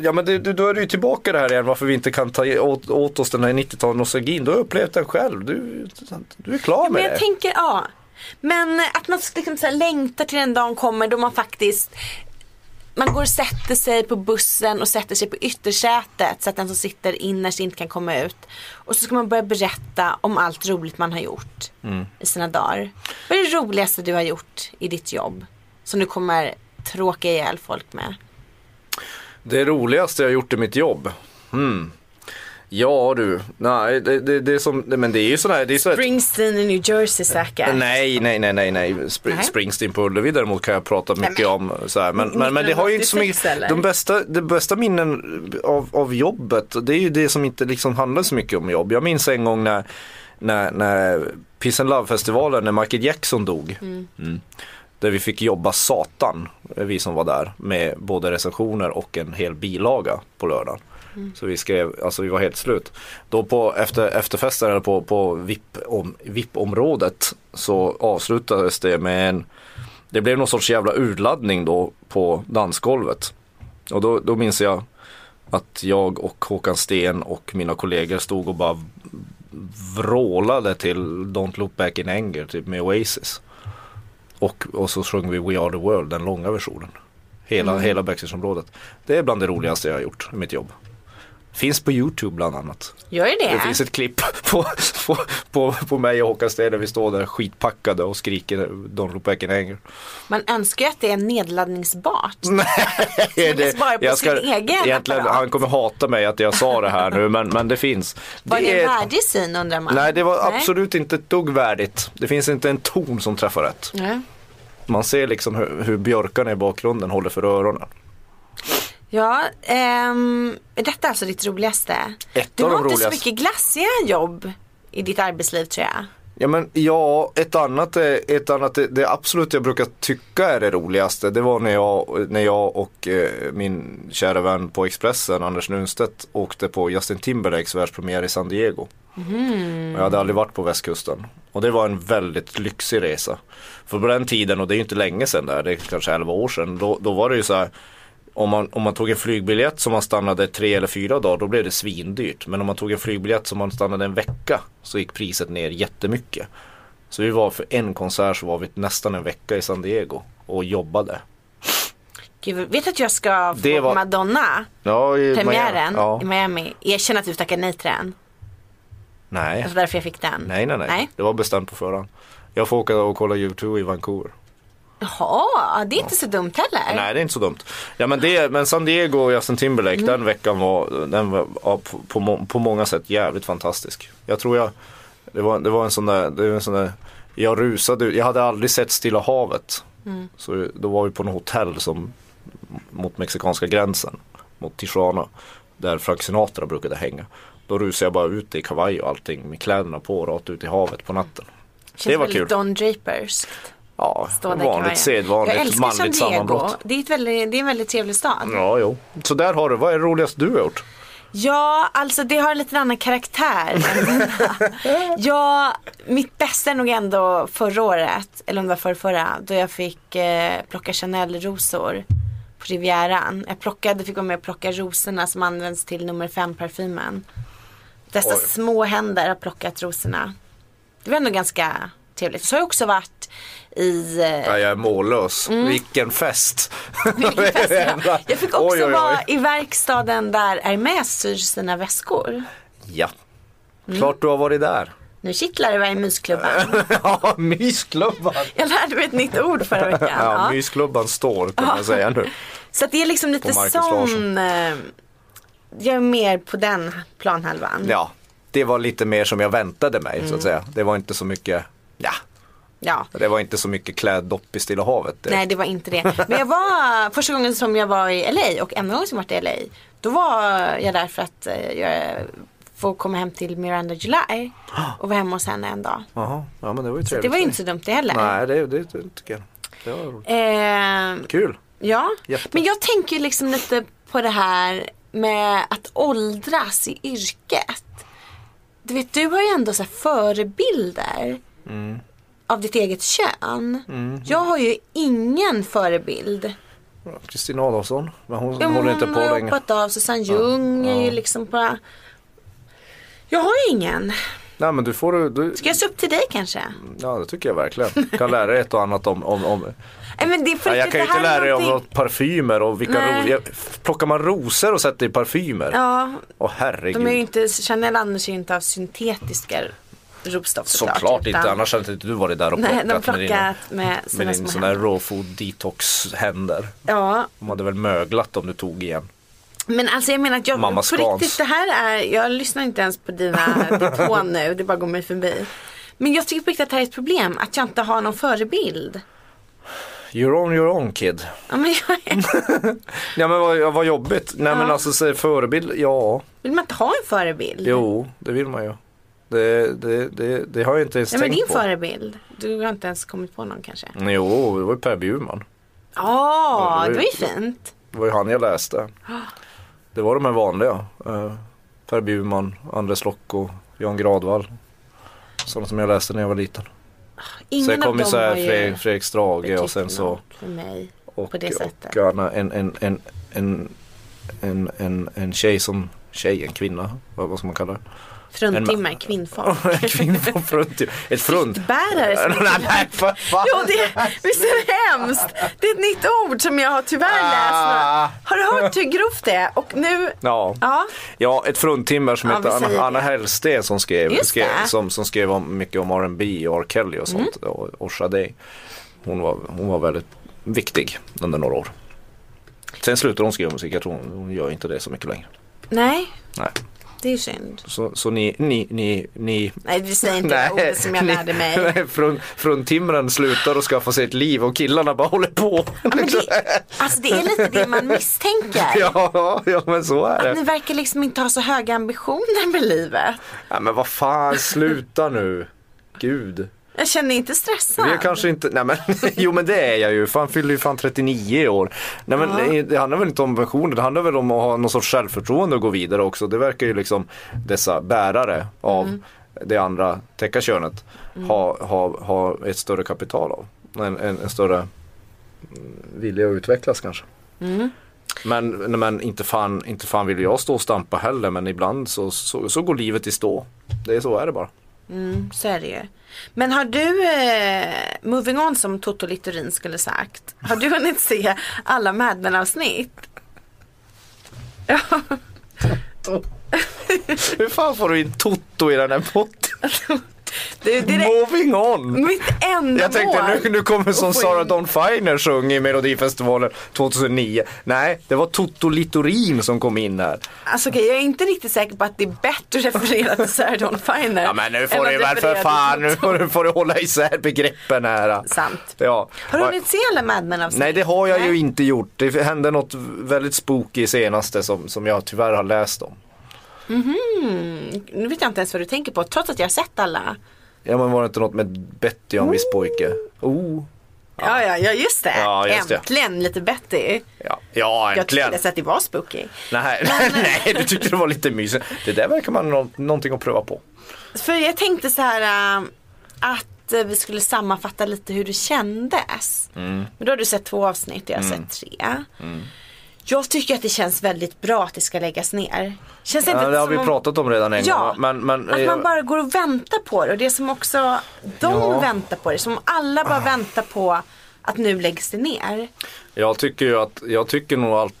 S3: Ja men det, det- då är du ju tillbaka det här igen varför vi inte kan ta i- åt, åt oss den här 90-talsnostalgin. Du har upplevt den själv, du, du är klar
S2: Men
S3: med
S2: jag
S3: det.
S2: tänker, ja. Men eh, att man liksom så här längtar till den dagen kommer då man faktiskt man går och sätter sig på bussen och sätter sig på yttersätet så att den som sitter innerst inte kan komma ut. Och så ska man börja berätta om allt roligt man har gjort
S3: Mm.
S2: i sina dagar. Vad är det roligaste du har gjort i ditt jobb? Som du kommer tråka ihjäl folk med?
S3: Det roligaste jag gjort i mitt jobb? Hmm. Ja du, nej det, det, det är som, nej, men det är ju sån här, det är sån här
S2: Springsteen i New Jersey säkert.
S3: Eh, Nej, nej, nej, nej, nej. Spr-
S2: Nej.
S3: Springsteen på Ullevi däremot kan jag prata mycket om. Så här. Men, men, men det har ju inte så
S1: 1986
S3: mycket,
S1: eller?
S3: de bästa, de bästa minnen av, av jobbet, det är ju det som inte liksom handlar så mycket om jobb. Jag minns en gång när, när, när Peace and Love-festivalen, när Michael Jackson dog. Mm. Där vi fick jobba satan, vi som var där, med både recensioner och en hel bilaga på lördagen. Så vi skrev, alltså vi var helt slut. Då på efter, efterfesten eller på, på VIP om, VIP-området så avslutades det med en, det blev någon sorts jävla urladdning då på dansgolvet. Och då, då minns jag att jag och Håkan Sten och mina kollegor stod och bara vrålade till Don't look back in anger typ med Oasis. Och, och så sjöng vi We are the world, den långa versionen. Hela, hela backstageområdet. Det är bland det roligaste jag har gjort i mitt jobb. Finns på Youtube bland annat.
S2: Gör det
S3: Det finns ett klipp på, på, på, på mig och Håkan Sten där vi står där skitpackade och skriker Don't look back in anger.
S2: Man önskar ju att det är nedladdningsbart.
S3: Det,
S2: lyssnar bara på sin egen
S3: egentligen,
S2: apparat.
S3: han kommer hata mig att jag sa det här nu men, men det finns.
S2: Var det en
S3: är-
S2: värdig syn undrar man?
S3: Nej det var absolut inte ett dugg värdigt. Det finns inte en ton som träffar rätt.
S2: Nej.
S3: Man ser liksom hur, hur björkarna i bakgrunden håller för öronen.
S2: Ja, ehm, är detta är alltså ditt roligaste?
S3: Ett
S2: du
S3: av
S2: har
S3: de
S2: inte så
S3: roligaste.
S2: mycket glassiga jobb i ditt arbetsliv tror jag.
S3: Ja men ja, ett annat, är- ett annat det, det absolut jag brukar tycka är det roligaste det var när jag, när jag och eh, min kära vän på Expressen, Anders Nunstedt, åkte på Justin Timberlakes världspremiär i San Diego. Och jag hade aldrig varit på västkusten. Och det var en väldigt lyxig resa. För på den tiden, och det är ju inte länge sedan där, det är kanske 11 år sedan, då, då var det ju så här om man, om man tog en flygbiljett som man stannade tre eller fyra dagar då blev det svindyrt. Men om man tog en flygbiljett som man stannade en vecka så gick priset ner jättemycket. Så vi var för en konsert så var vi nästan en vecka i San Diego och jobbade.
S2: Gud, vet du att jag ska få
S3: Det var-
S2: Madonna
S3: Ja, i
S2: premiären
S3: Miami. Ja.
S2: i Miami? Erkänn att du tackade nej till den.
S3: Nej.
S2: Det var därför jag fick den.
S3: Nej, nej, nej,
S2: nej.
S3: Det var bestämt på förhand. Jag får åka och kolla YouTube i Vancouver.
S2: Jaha, det är inte så dumt heller.
S3: Nej det är inte så dumt. Ja men, det, men San Diego och Justin Timberlake
S2: Mm.
S3: den veckan var, den var ja, på, på, må- på många sätt jävligt fantastisk. Jag tror jag, det var, det var en sån där, det var en sån där jag rusade, jag hade aldrig sett Stilla havet.
S2: Mm.
S3: Så då var vi på något hotell som, mot mexikanska gränsen, mot Tijuana, där Frank Sinatra brukade hänga. Då rusade jag bara ut i kavaj och allting med kläderna på rakt ut i havet på natten.
S2: Känns
S3: det var
S2: väldigt
S3: kul.
S2: Don Drapers.
S3: Ja,
S2: Stå där i kavajen.
S3: vanligt
S2: Jag
S3: sedvanligt
S2: älskar San
S3: manligt
S2: Diego.
S3: sammanbrott.
S2: Det är, ett väldigt, det är en väldigt trevlig stad.
S3: Ja, jo. Så där har du. Vad är det roligaste du har gjort?
S2: Ja, alltså det har en liten annan karaktär. ja, mitt bästa är nog ändå förra året, eller om det var förra, förra då jag fick eh, plocka Chanel-rosor på Rivieran. Jag plockade, fick vara med och plocka rosorna som används till nummer fem parfymen. Dessa
S3: Oj.
S2: små händer har plockat rosorna. Det var ändå ganska trevligt. Så har jag också varit i eh,
S3: Ja, jag är mållös. Vilken fest!
S2: Mm. Vilken fest det var. Jag fick också
S3: Oj, oj, oj.
S2: vara i verkstaden där Hermes syr sina väskor.
S3: Ja. Klart du har varit där.
S2: Nu kittlar det vad i mysklubban.
S3: ja, mysklubban!
S2: Jag lärde mig ett nytt ord förra veckan.
S3: Ja,
S2: ja.
S3: mysklubban står kan jag säga nu.
S2: Så att det är liksom lite
S3: Och Marcus Larsson.
S2: sån. eh, Jag är mer på den planhalvan.
S3: Ja, det var lite mer som jag väntade mig
S2: Mm.
S3: så att säga. Det var inte så mycket, ja,
S2: Ja.
S3: det var inte så mycket kläddopp i Stilla havet. direkt.
S2: Nej det var inte det. Men jag var, första gången som jag var i LA och enda gången som jag varit i LA. Då var jag där för att eh, jag får komma hem till Miranda July. Och vara hemma hos henne en dag.
S3: Jaha, ja men det var ju trevligt.
S2: Det var
S3: för
S2: ju inte så
S3: dig.
S2: dumt det heller.
S3: Nej, det, det, det tycker jag. Det var roligt.
S2: Eh,
S3: Kul!
S2: Ja,
S3: Jätte.
S2: men jag tänker ju liksom lite på det här med att åldras i yrket. Du vet, du har ju ändå så här förebilder
S3: Mm.
S2: av ditt eget kön. Jag har ju ingen förebild.
S3: Kristina Adolfsson, men hon
S2: Ja, men
S3: håller inte
S2: hon
S3: på
S2: har ju
S3: länge.
S2: hoppat av, Susanne Ljung är ju liksom på... Jag har ju ingen.
S3: Nej men du får du, du
S2: Ska jag se upp till dig kanske?
S3: ja det tycker jag verkligen. Kan lära dig ett och annat om, om, om.
S2: Nej, men det är på
S3: Nej, jag
S2: riktigt,
S3: kan ju
S2: det här
S3: inte
S2: är
S3: lära dig om
S2: någonting-
S3: något parfymer och vilka
S2: Nej.
S3: rosor. Plockar man rosor och sätter i parfymer?
S2: Ja,
S3: Åh herregud.
S2: de är ju inte, Chanel använder sig ju inte av syntetiska rosdoft
S3: Såklart inte,
S2: utan-
S3: annars hade inte du varit där och
S2: Nej,
S3: plockat
S2: de
S3: med dina,
S2: plockat med sina
S3: med din
S2: små
S3: sån
S2: händer.
S3: här raw food detox händer.
S2: Ja,
S3: De hade väl möglat om du tog igen.
S2: men alltså jag menar att jag,
S3: Mamma
S2: på
S3: Scans.
S2: riktigt det här är, jag lyssnar inte ens på dina depå nu, det bara går mig förbi. Men jag tycker på riktigt att det här är ett problem, att jag inte har någon förebild.
S3: You're on your own kid.
S2: Ja, men jag är,
S3: Ja men vad, vad jobbigt. Nej men
S2: Ja.
S3: alltså så förebild, ja.
S2: vill man inte ha en förebild?
S3: Jo, det vill man ju. Det, det, det, det har jag inte ens
S2: Nej, men
S3: tänkt
S2: din
S3: på.
S2: förebild, du har inte ens kommit på någon kanske?
S3: Jo, det var ju Per Bjurman.
S2: Ja,
S3: Ja, det
S2: det
S3: var
S2: var
S3: ju-
S2: ju fint.
S3: Det var ju han jag läste. Det var de här vanliga. Eh, Per Bjurman, Andres Lokko, Jan Gradvall. Sådana som jag läste när jag var liten.
S2: Ingen
S3: sen kom
S2: av
S3: ju
S2: dem
S3: så här
S2: har ju
S3: Fredrik, Fredrik Strage och
S2: betytt
S3: sen så.
S2: något För mig.
S3: Och,
S2: på det sättet.
S3: och Anna, en, en, en, en, en, en, en tjej som tjej, en kvinna, vad, vad ska man kalla det?
S2: Fruntimmer, kvinnfolk.
S3: En kvinna från frunt, ett frunt.
S2: Bärare som
S3: Nej, nej, för fan.
S2: Jo, det, visst är det hemskt? Det är ett nytt ord som jag har tyvärr
S3: Ah.
S2: läst. Har du hört hur grovt det är? Och nu,
S3: Ja.
S2: Ja.
S3: ja, ett fruntimmer som
S2: Ja,
S3: heter
S2: vi säger
S3: Anna, Anna
S2: det.
S3: Hellsten som skrev,
S2: Just
S3: skrev,
S2: det. Mm.
S3: som, som skrev om, mycket om R&B och R. Kelly och sånt och, och Sade. Hon var, hon var väldigt viktig under några år. Sen slutade hon skriva musik, jag tror hon, hon gör inte det så mycket längre.
S2: nej,
S3: Nej.
S2: det är synd.
S3: Så, så ni, ni, ni, ni
S2: Nej, vi säger inte det ordet som jag
S3: ni-
S2: lärde mig.
S3: nej, Frun, fruntimren slutar och skaffar sig ett liv och killarna bara håller på.
S2: Ja, men det, alltså det är lite det man misstänker.
S3: ja, ja men så är
S2: Att ni
S3: det.
S2: verkar liksom inte ha så höga ambitioner med livet.
S3: Ja, men vad fan, sluta nu. Gud.
S2: Jag känner inte
S3: Det
S2: stressad.
S3: är kanske inte, nej men jo men det är jag ju, fan fyller ju fan 39 i år. Nej men nej, det handlar väl inte om versioner, det handlar väl om att ha någon sorts självförtroende och gå vidare också. Det verkar ju liksom dessa bärare av det andra täcka könet ha, ha, ha ett större kapital av. En, en, en större mm, vilja att utvecklas kanske. Mm. Men, nej, men inte, fan, inte fan vill jag stå och stampa heller men ibland så, så, så går livet i stå. Det är så är det bara.
S2: Så är det ju. Men har du, eh, moving on som Toto Littorin skulle sagt, har du hunnit se alla Mad Men avsnitt?
S3: Hur fan får du in Toto i den här potten?
S2: Du, det är det,
S3: Moving on!
S2: mitt enda
S3: Jag tänkte
S2: mål.
S3: nu, nu kommer som
S2: få
S3: Sara
S2: in-
S3: Dawn Finer sjöng i Melodifestivalen 2009. Nej, det var Toto Littorin som kom in här.
S2: Alltså okej, jag är inte riktigt säker på att det är bättre att referera till Sarah Dawn Finer.
S3: Ja men nu
S2: än
S3: får
S2: att
S3: du väl
S2: referera
S3: för
S2: till
S3: fan, nu
S2: Toto.
S3: får du, får du hålla isär begreppen här.
S2: Sant.
S3: Ja.
S2: Har du hunnit se alla Mad Men avsnitt?
S3: Nej det har jag
S2: Nej.
S3: ju inte gjort. Det hände något väldigt spooky senaste som, som jag tyvärr har läst om.
S2: Nu vet jag inte ens vad du tänker på, trots att jag har sett alla.
S3: Ja men var det inte något med Betty och en
S2: Mm.
S3: viss pojke? Oh.
S2: Ja, ja, ja just det.
S3: Ja, just det.
S2: Äntligen lite Betty.
S3: Ja, ja
S2: Jag
S3: äntligen.
S2: tyckte nästan att det var spooky.
S3: Nej, nej, du tyckte det var lite mysigt. Det där verkar man nå- någonting att pröva på.
S2: För jag tänkte så här äh, att eh, vi skulle sammanfatta lite hur det kändes.
S3: Mm.
S2: Men då har du sett två avsnitt och jag har sett tre. Jag tycker att det känns väldigt bra att det ska läggas ner. Känns inte
S3: Ja, det har
S2: som
S3: vi
S2: om-
S3: pratat om redan en gång. va?
S2: Ja,
S3: Men, men,
S2: att
S3: eh,
S2: man bara går och väntar på det och det som också de
S3: Ja. Ah.
S2: väntar på det. Som alla bara väntar på att nu läggs det ner.
S3: Jag tycker ju att, jag tycker nog allt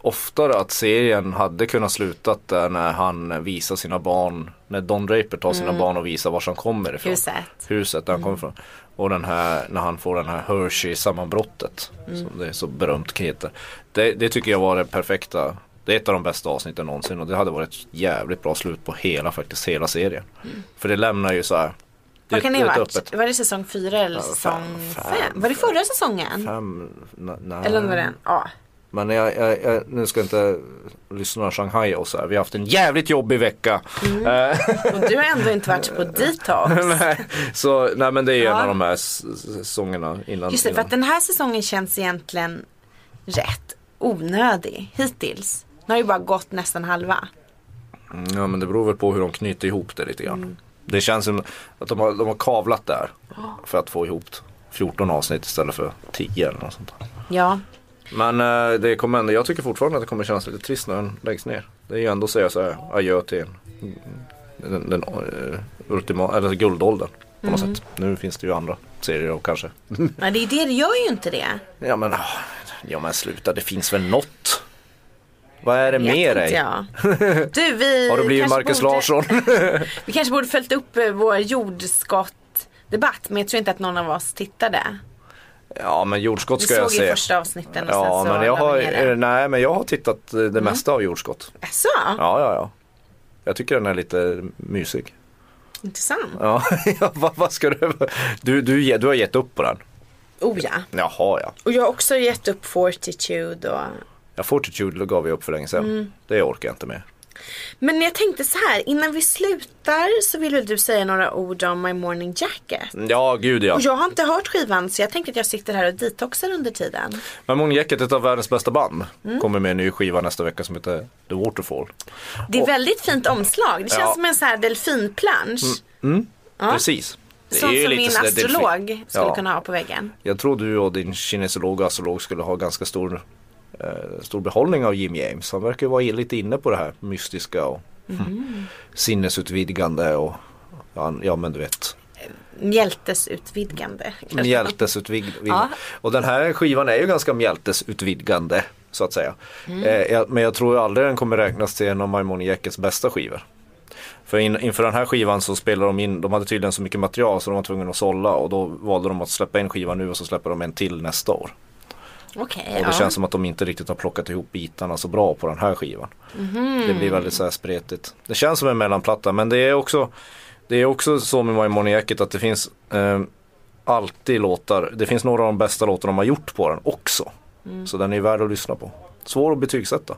S3: oftare att serien hade kunnat slutat där när han visar sina barn, när Don Draper tar sina barn och visar var han kommer ifrån.
S2: Mm. Huset. Mm.
S3: Huset där han kommer ifrån. Och den här, när han får den här Hershey-sammanbrottet,
S2: Mm.
S3: som det är så berömt heter. Det, det tycker jag var det perfekta, det är ett av de bästa avsnitten någonsin och det hade varit ett jävligt bra slut på hela, faktiskt hela serien. För det lämnar ju så här.
S2: Mm. Vad kan det ha
S3: är ett
S2: varit? Var det säsong fyra eller säsong
S3: fem,
S2: fem? Var det förra säsongen?
S3: Fem, n- nej.
S2: Eller var det en? Ja.
S3: Men jag, jag, jag, nu ska inte lyssna Shanghai och så här. Vi har haft en jävligt jobbig vecka.
S2: Mm.
S3: Eh,
S2: Och du har ändå inte varit på detox.
S3: nej, så nej men det är ju en
S2: Ja.
S3: av de här s- s- säsongerna innan.
S2: Just det, för
S3: innan.
S2: att den här säsongen känns egentligen rätt onödig hittills. Nu har ju bara gått nästan halva.
S3: Ja men det beror väl på hur de knyter ihop det lite grann.
S2: Mm.
S3: Det känns som att de har, de har kavlat där för att få ihop 14 avsnitt istället för 10 eller något sånt. där.
S2: Ja,
S3: Men eh, det kommer ändå, jag tycker fortfarande att det kommer kännas lite trist när den läggs ner. Det är ju ändå att säga så här, adjö till en den, den eh, ultima, eller guldåldern på något
S2: Mm.
S3: sätt. Nu finns det ju andra serier och kanske.
S2: Men det är det, det gör ju inte det.
S3: Ja men, ah, ja, men sluta, det finns väl något. Vad är det
S2: Vet
S3: med
S2: inte
S3: dig?
S2: jag. Du, vi
S3: Har du blivit
S2: kanske
S3: Marcus
S2: borde-
S3: Larsson?
S2: Vi kanske borde följt upp eh, vår jordskottdebatt men jag tror inte att någon av oss tittade.
S3: ja men jordskott
S2: Vi
S3: ska
S2: såg
S3: jag
S2: ju
S3: se.
S2: första avsnitten och
S3: Ja
S2: sen så
S3: men jag har, eh,
S2: en...
S3: nej men jag har tittat eh, det
S2: Mm.
S3: mesta av jordskott.
S2: Jaså,
S3: Ja ja ja. Jag tycker den är lite mysig.
S2: intressant.
S3: Ja, ja, vad, vad ska du, du, du, ge- du har gett upp på den?
S2: Oh ja.
S3: Jaha ja.
S2: Och jag har också gett upp Fortitude och...
S3: Ja, Fortitude gav jag upp för länge sedan.
S2: Mm.
S3: Det orkar jag inte med.
S2: Men jag tänkte så här, innan vi slutar så vill väl du säga några ord om My Morning Jacket?
S3: Ja, gud ja.
S2: Och jag har inte hört skivan så jag tänker att jag sitter här och detoxar under tiden.
S3: Men Moon Jacket, ett av världens bästa band,
S2: Mm.
S3: kommer med en ny skiva nästa vecka som heter The Waterfall.
S2: Det är väldigt fint omslag. Det känns
S3: Ja.
S2: som en så här delfinplansch.
S3: Precis. Det
S2: Sånt som min
S3: sådär delfin.
S2: astrolog skulle
S3: Ja.
S2: kunna ha på väggen.
S3: Jag tror du och din kinesolog och astrolog skulle ha ganska stor, eh, stor behållning av Jim James. Han verkar ju vara lite inne på det här mystiska och mm. sinnesutvidgande och ja, ja men du vet.
S2: Mjältesutvidgande. kanske.
S3: Mjältesutvidgande.
S2: Ja.
S3: Och den här skivan är ju ganska mjältesutvidgande så att säga.
S2: Mm.
S3: Eh, jag- men jag tror aldrig den kommer räknas till en av Maimoni Jackets bästa skivor. För in, inför den här skivan så spelade de in, de hade tydligen så mycket material så de var tvungna att sålla och då valde de att släppa en skiva nu och så släpper de en till nästa år.
S2: Okej,
S3: Och det
S2: ja.
S3: känns som att de inte riktigt har plockat ihop bitarna så bra på den här skivan.
S2: Mhm.
S3: Det blir väldigt så här spretigt. Det känns som en mellanplatta men det är också Det är också så med My Morning Jacket att det finns eh, Alltid låtar, det finns några av de bästa låtarna de har gjort på den också.
S2: Mm.
S3: Så den är värd att lyssna på. Svår att betygsätta.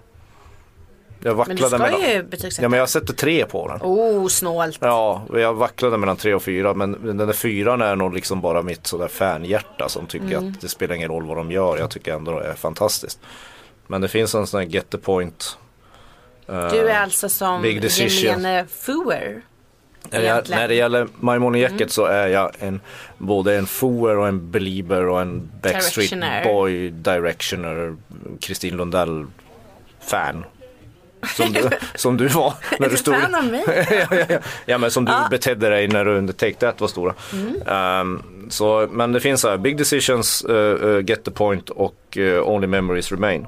S2: Men du
S3: Jag vacklade
S2: ska
S3: mellan
S2: ju betygsätta.
S3: Ja men jag sätter tre på den.
S2: Oh, snålt.
S3: Ja, och jag vacklade mellan tre och fyra men den där fyran är nog liksom bara mitt sådär fanhjärta som tycker att det spelar ingen roll vad de gör, jag tycker ändå det är fantastiskt. Men det finns en sån här get the point.
S2: Du är alltså som
S3: Big decision.
S2: gemene fuer.
S3: När det, gäll-
S2: Egentligen. Mm.
S3: när det gäller My Morning Jacket så är jag en, både en foer och en belieber och en Backstreet
S2: Directioner.
S3: Boy directioner, Kristin Lundell fan. Som du, som du var när
S2: Är
S3: du
S2: du
S3: stod...
S2: fan av mig?
S3: ja, ja, ja. ja men som du betedde dig när du under Take That var stora.
S2: Mm.
S3: Ehm, så, men det finns så här, Big Decisions, eh, eh, Get The Point och eh, Only Memories Remain.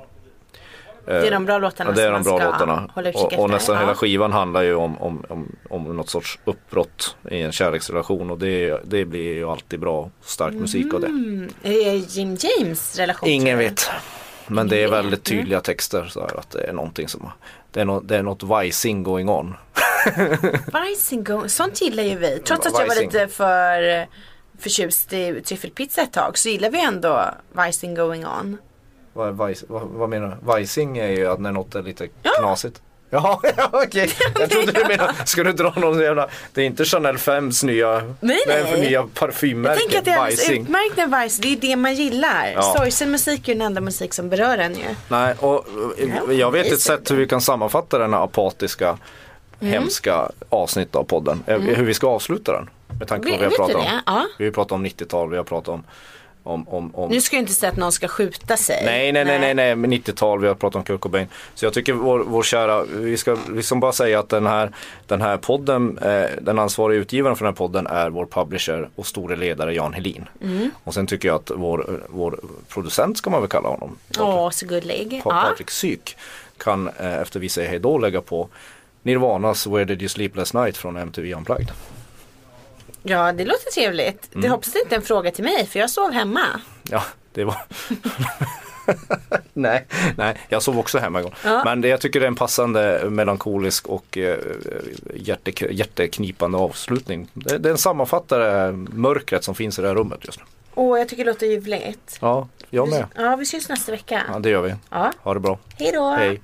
S2: Det är de bra låtarna
S3: Eh, Ja, det
S2: som
S3: är de
S2: man
S3: bra
S2: ska
S3: låtarna.
S2: hålla utkik
S3: Och, och
S2: efter.
S3: nästan
S2: Ja.
S3: hela skivan handlar ju om, om, om, om något sorts uppbrott i en kärleksrelation och det, det blir ju alltid bra stark musik av det.
S2: Är det Jim James relation?
S3: Ingen
S2: tror du?
S3: vet. Men det är väldigt tydliga texter så här, att det är någonting som det är, no, det är något vajsing going on.
S2: Vajsing go- sånt gillar ju vi. Trots
S3: Ja,
S2: att jag var
S3: vajsing.
S2: lite för förtjust i tryffelpizza ett tag så gillar vi ändå Vajsing going on.
S3: Vad, vajs, vad, vad menar du? Vajsing är ju att när något är lite knasigt. Jaha, ja, okej. Jag trodde du menade, ska du dra någon jävla, det är inte Chanel 5s nya,
S2: Nej,
S3: det är för
S2: nej.
S3: nya
S2: Jag
S3: parfymmärke,
S2: tänker att det är alldeles
S3: vajsing.
S2: utmärkt när Vajs, det är det man gillar.
S3: Ja.
S2: Sorgsen musik är ju den enda musik som berör en ju.
S3: Nej, och eh, jag vet ett sätt hur vi kan sammanfatta den här apatiska,
S2: Mm.
S3: hemska avsnitt av podden. Eh, Hur vi ska avsluta den. Med tanke på vad vi har
S2: Vet du
S3: pratat om.
S2: det? Ja.
S3: Vi har pratat om 90-tal, vi har pratat om, om, om, om
S2: Nu ska jag inte säga att någon ska skjuta sig.
S3: Nej, nej, nej, nej, nej, men 90-tal, vi har pratat om Kurt Cobain. Så jag tycker vår, vår kära, vi ska liksom bara säga att den här, den här podden, eh, den ansvariga utgivaren för den här podden är vår publisher och store ledare Jan Helin.
S2: Mm.
S3: Och sen tycker jag att vår, vår producent ska man väl kalla honom.
S2: Åh, så gullig.
S3: Pa-
S2: Ja.
S3: Patrik Syk kan eh, efter vi säger hejdå lägga på Nirvanas Where Did You Sleep Last Night från MTV Unplugged.
S2: ja, det låter trevligt.
S3: Mm.
S2: Det hoppas det inte är en fråga till mig för jag sov hemma.
S3: Ja, det var... nej, nej, jag sov också hemma igår. Men det, jag tycker det är en passande melankolisk och eh, hjärte, hjärteknipande avslutning. Det, den sammanfattar det här eh, mörkret som finns i det här rummet just nu.
S2: Åh, jag tycker det låter ljuvligt.
S3: Ja, jag med.
S2: Ja, vi syns nästa vecka.
S3: Ja, det gör vi.
S2: Ja.
S3: Ha det bra.
S2: Hej då!
S3: Hej.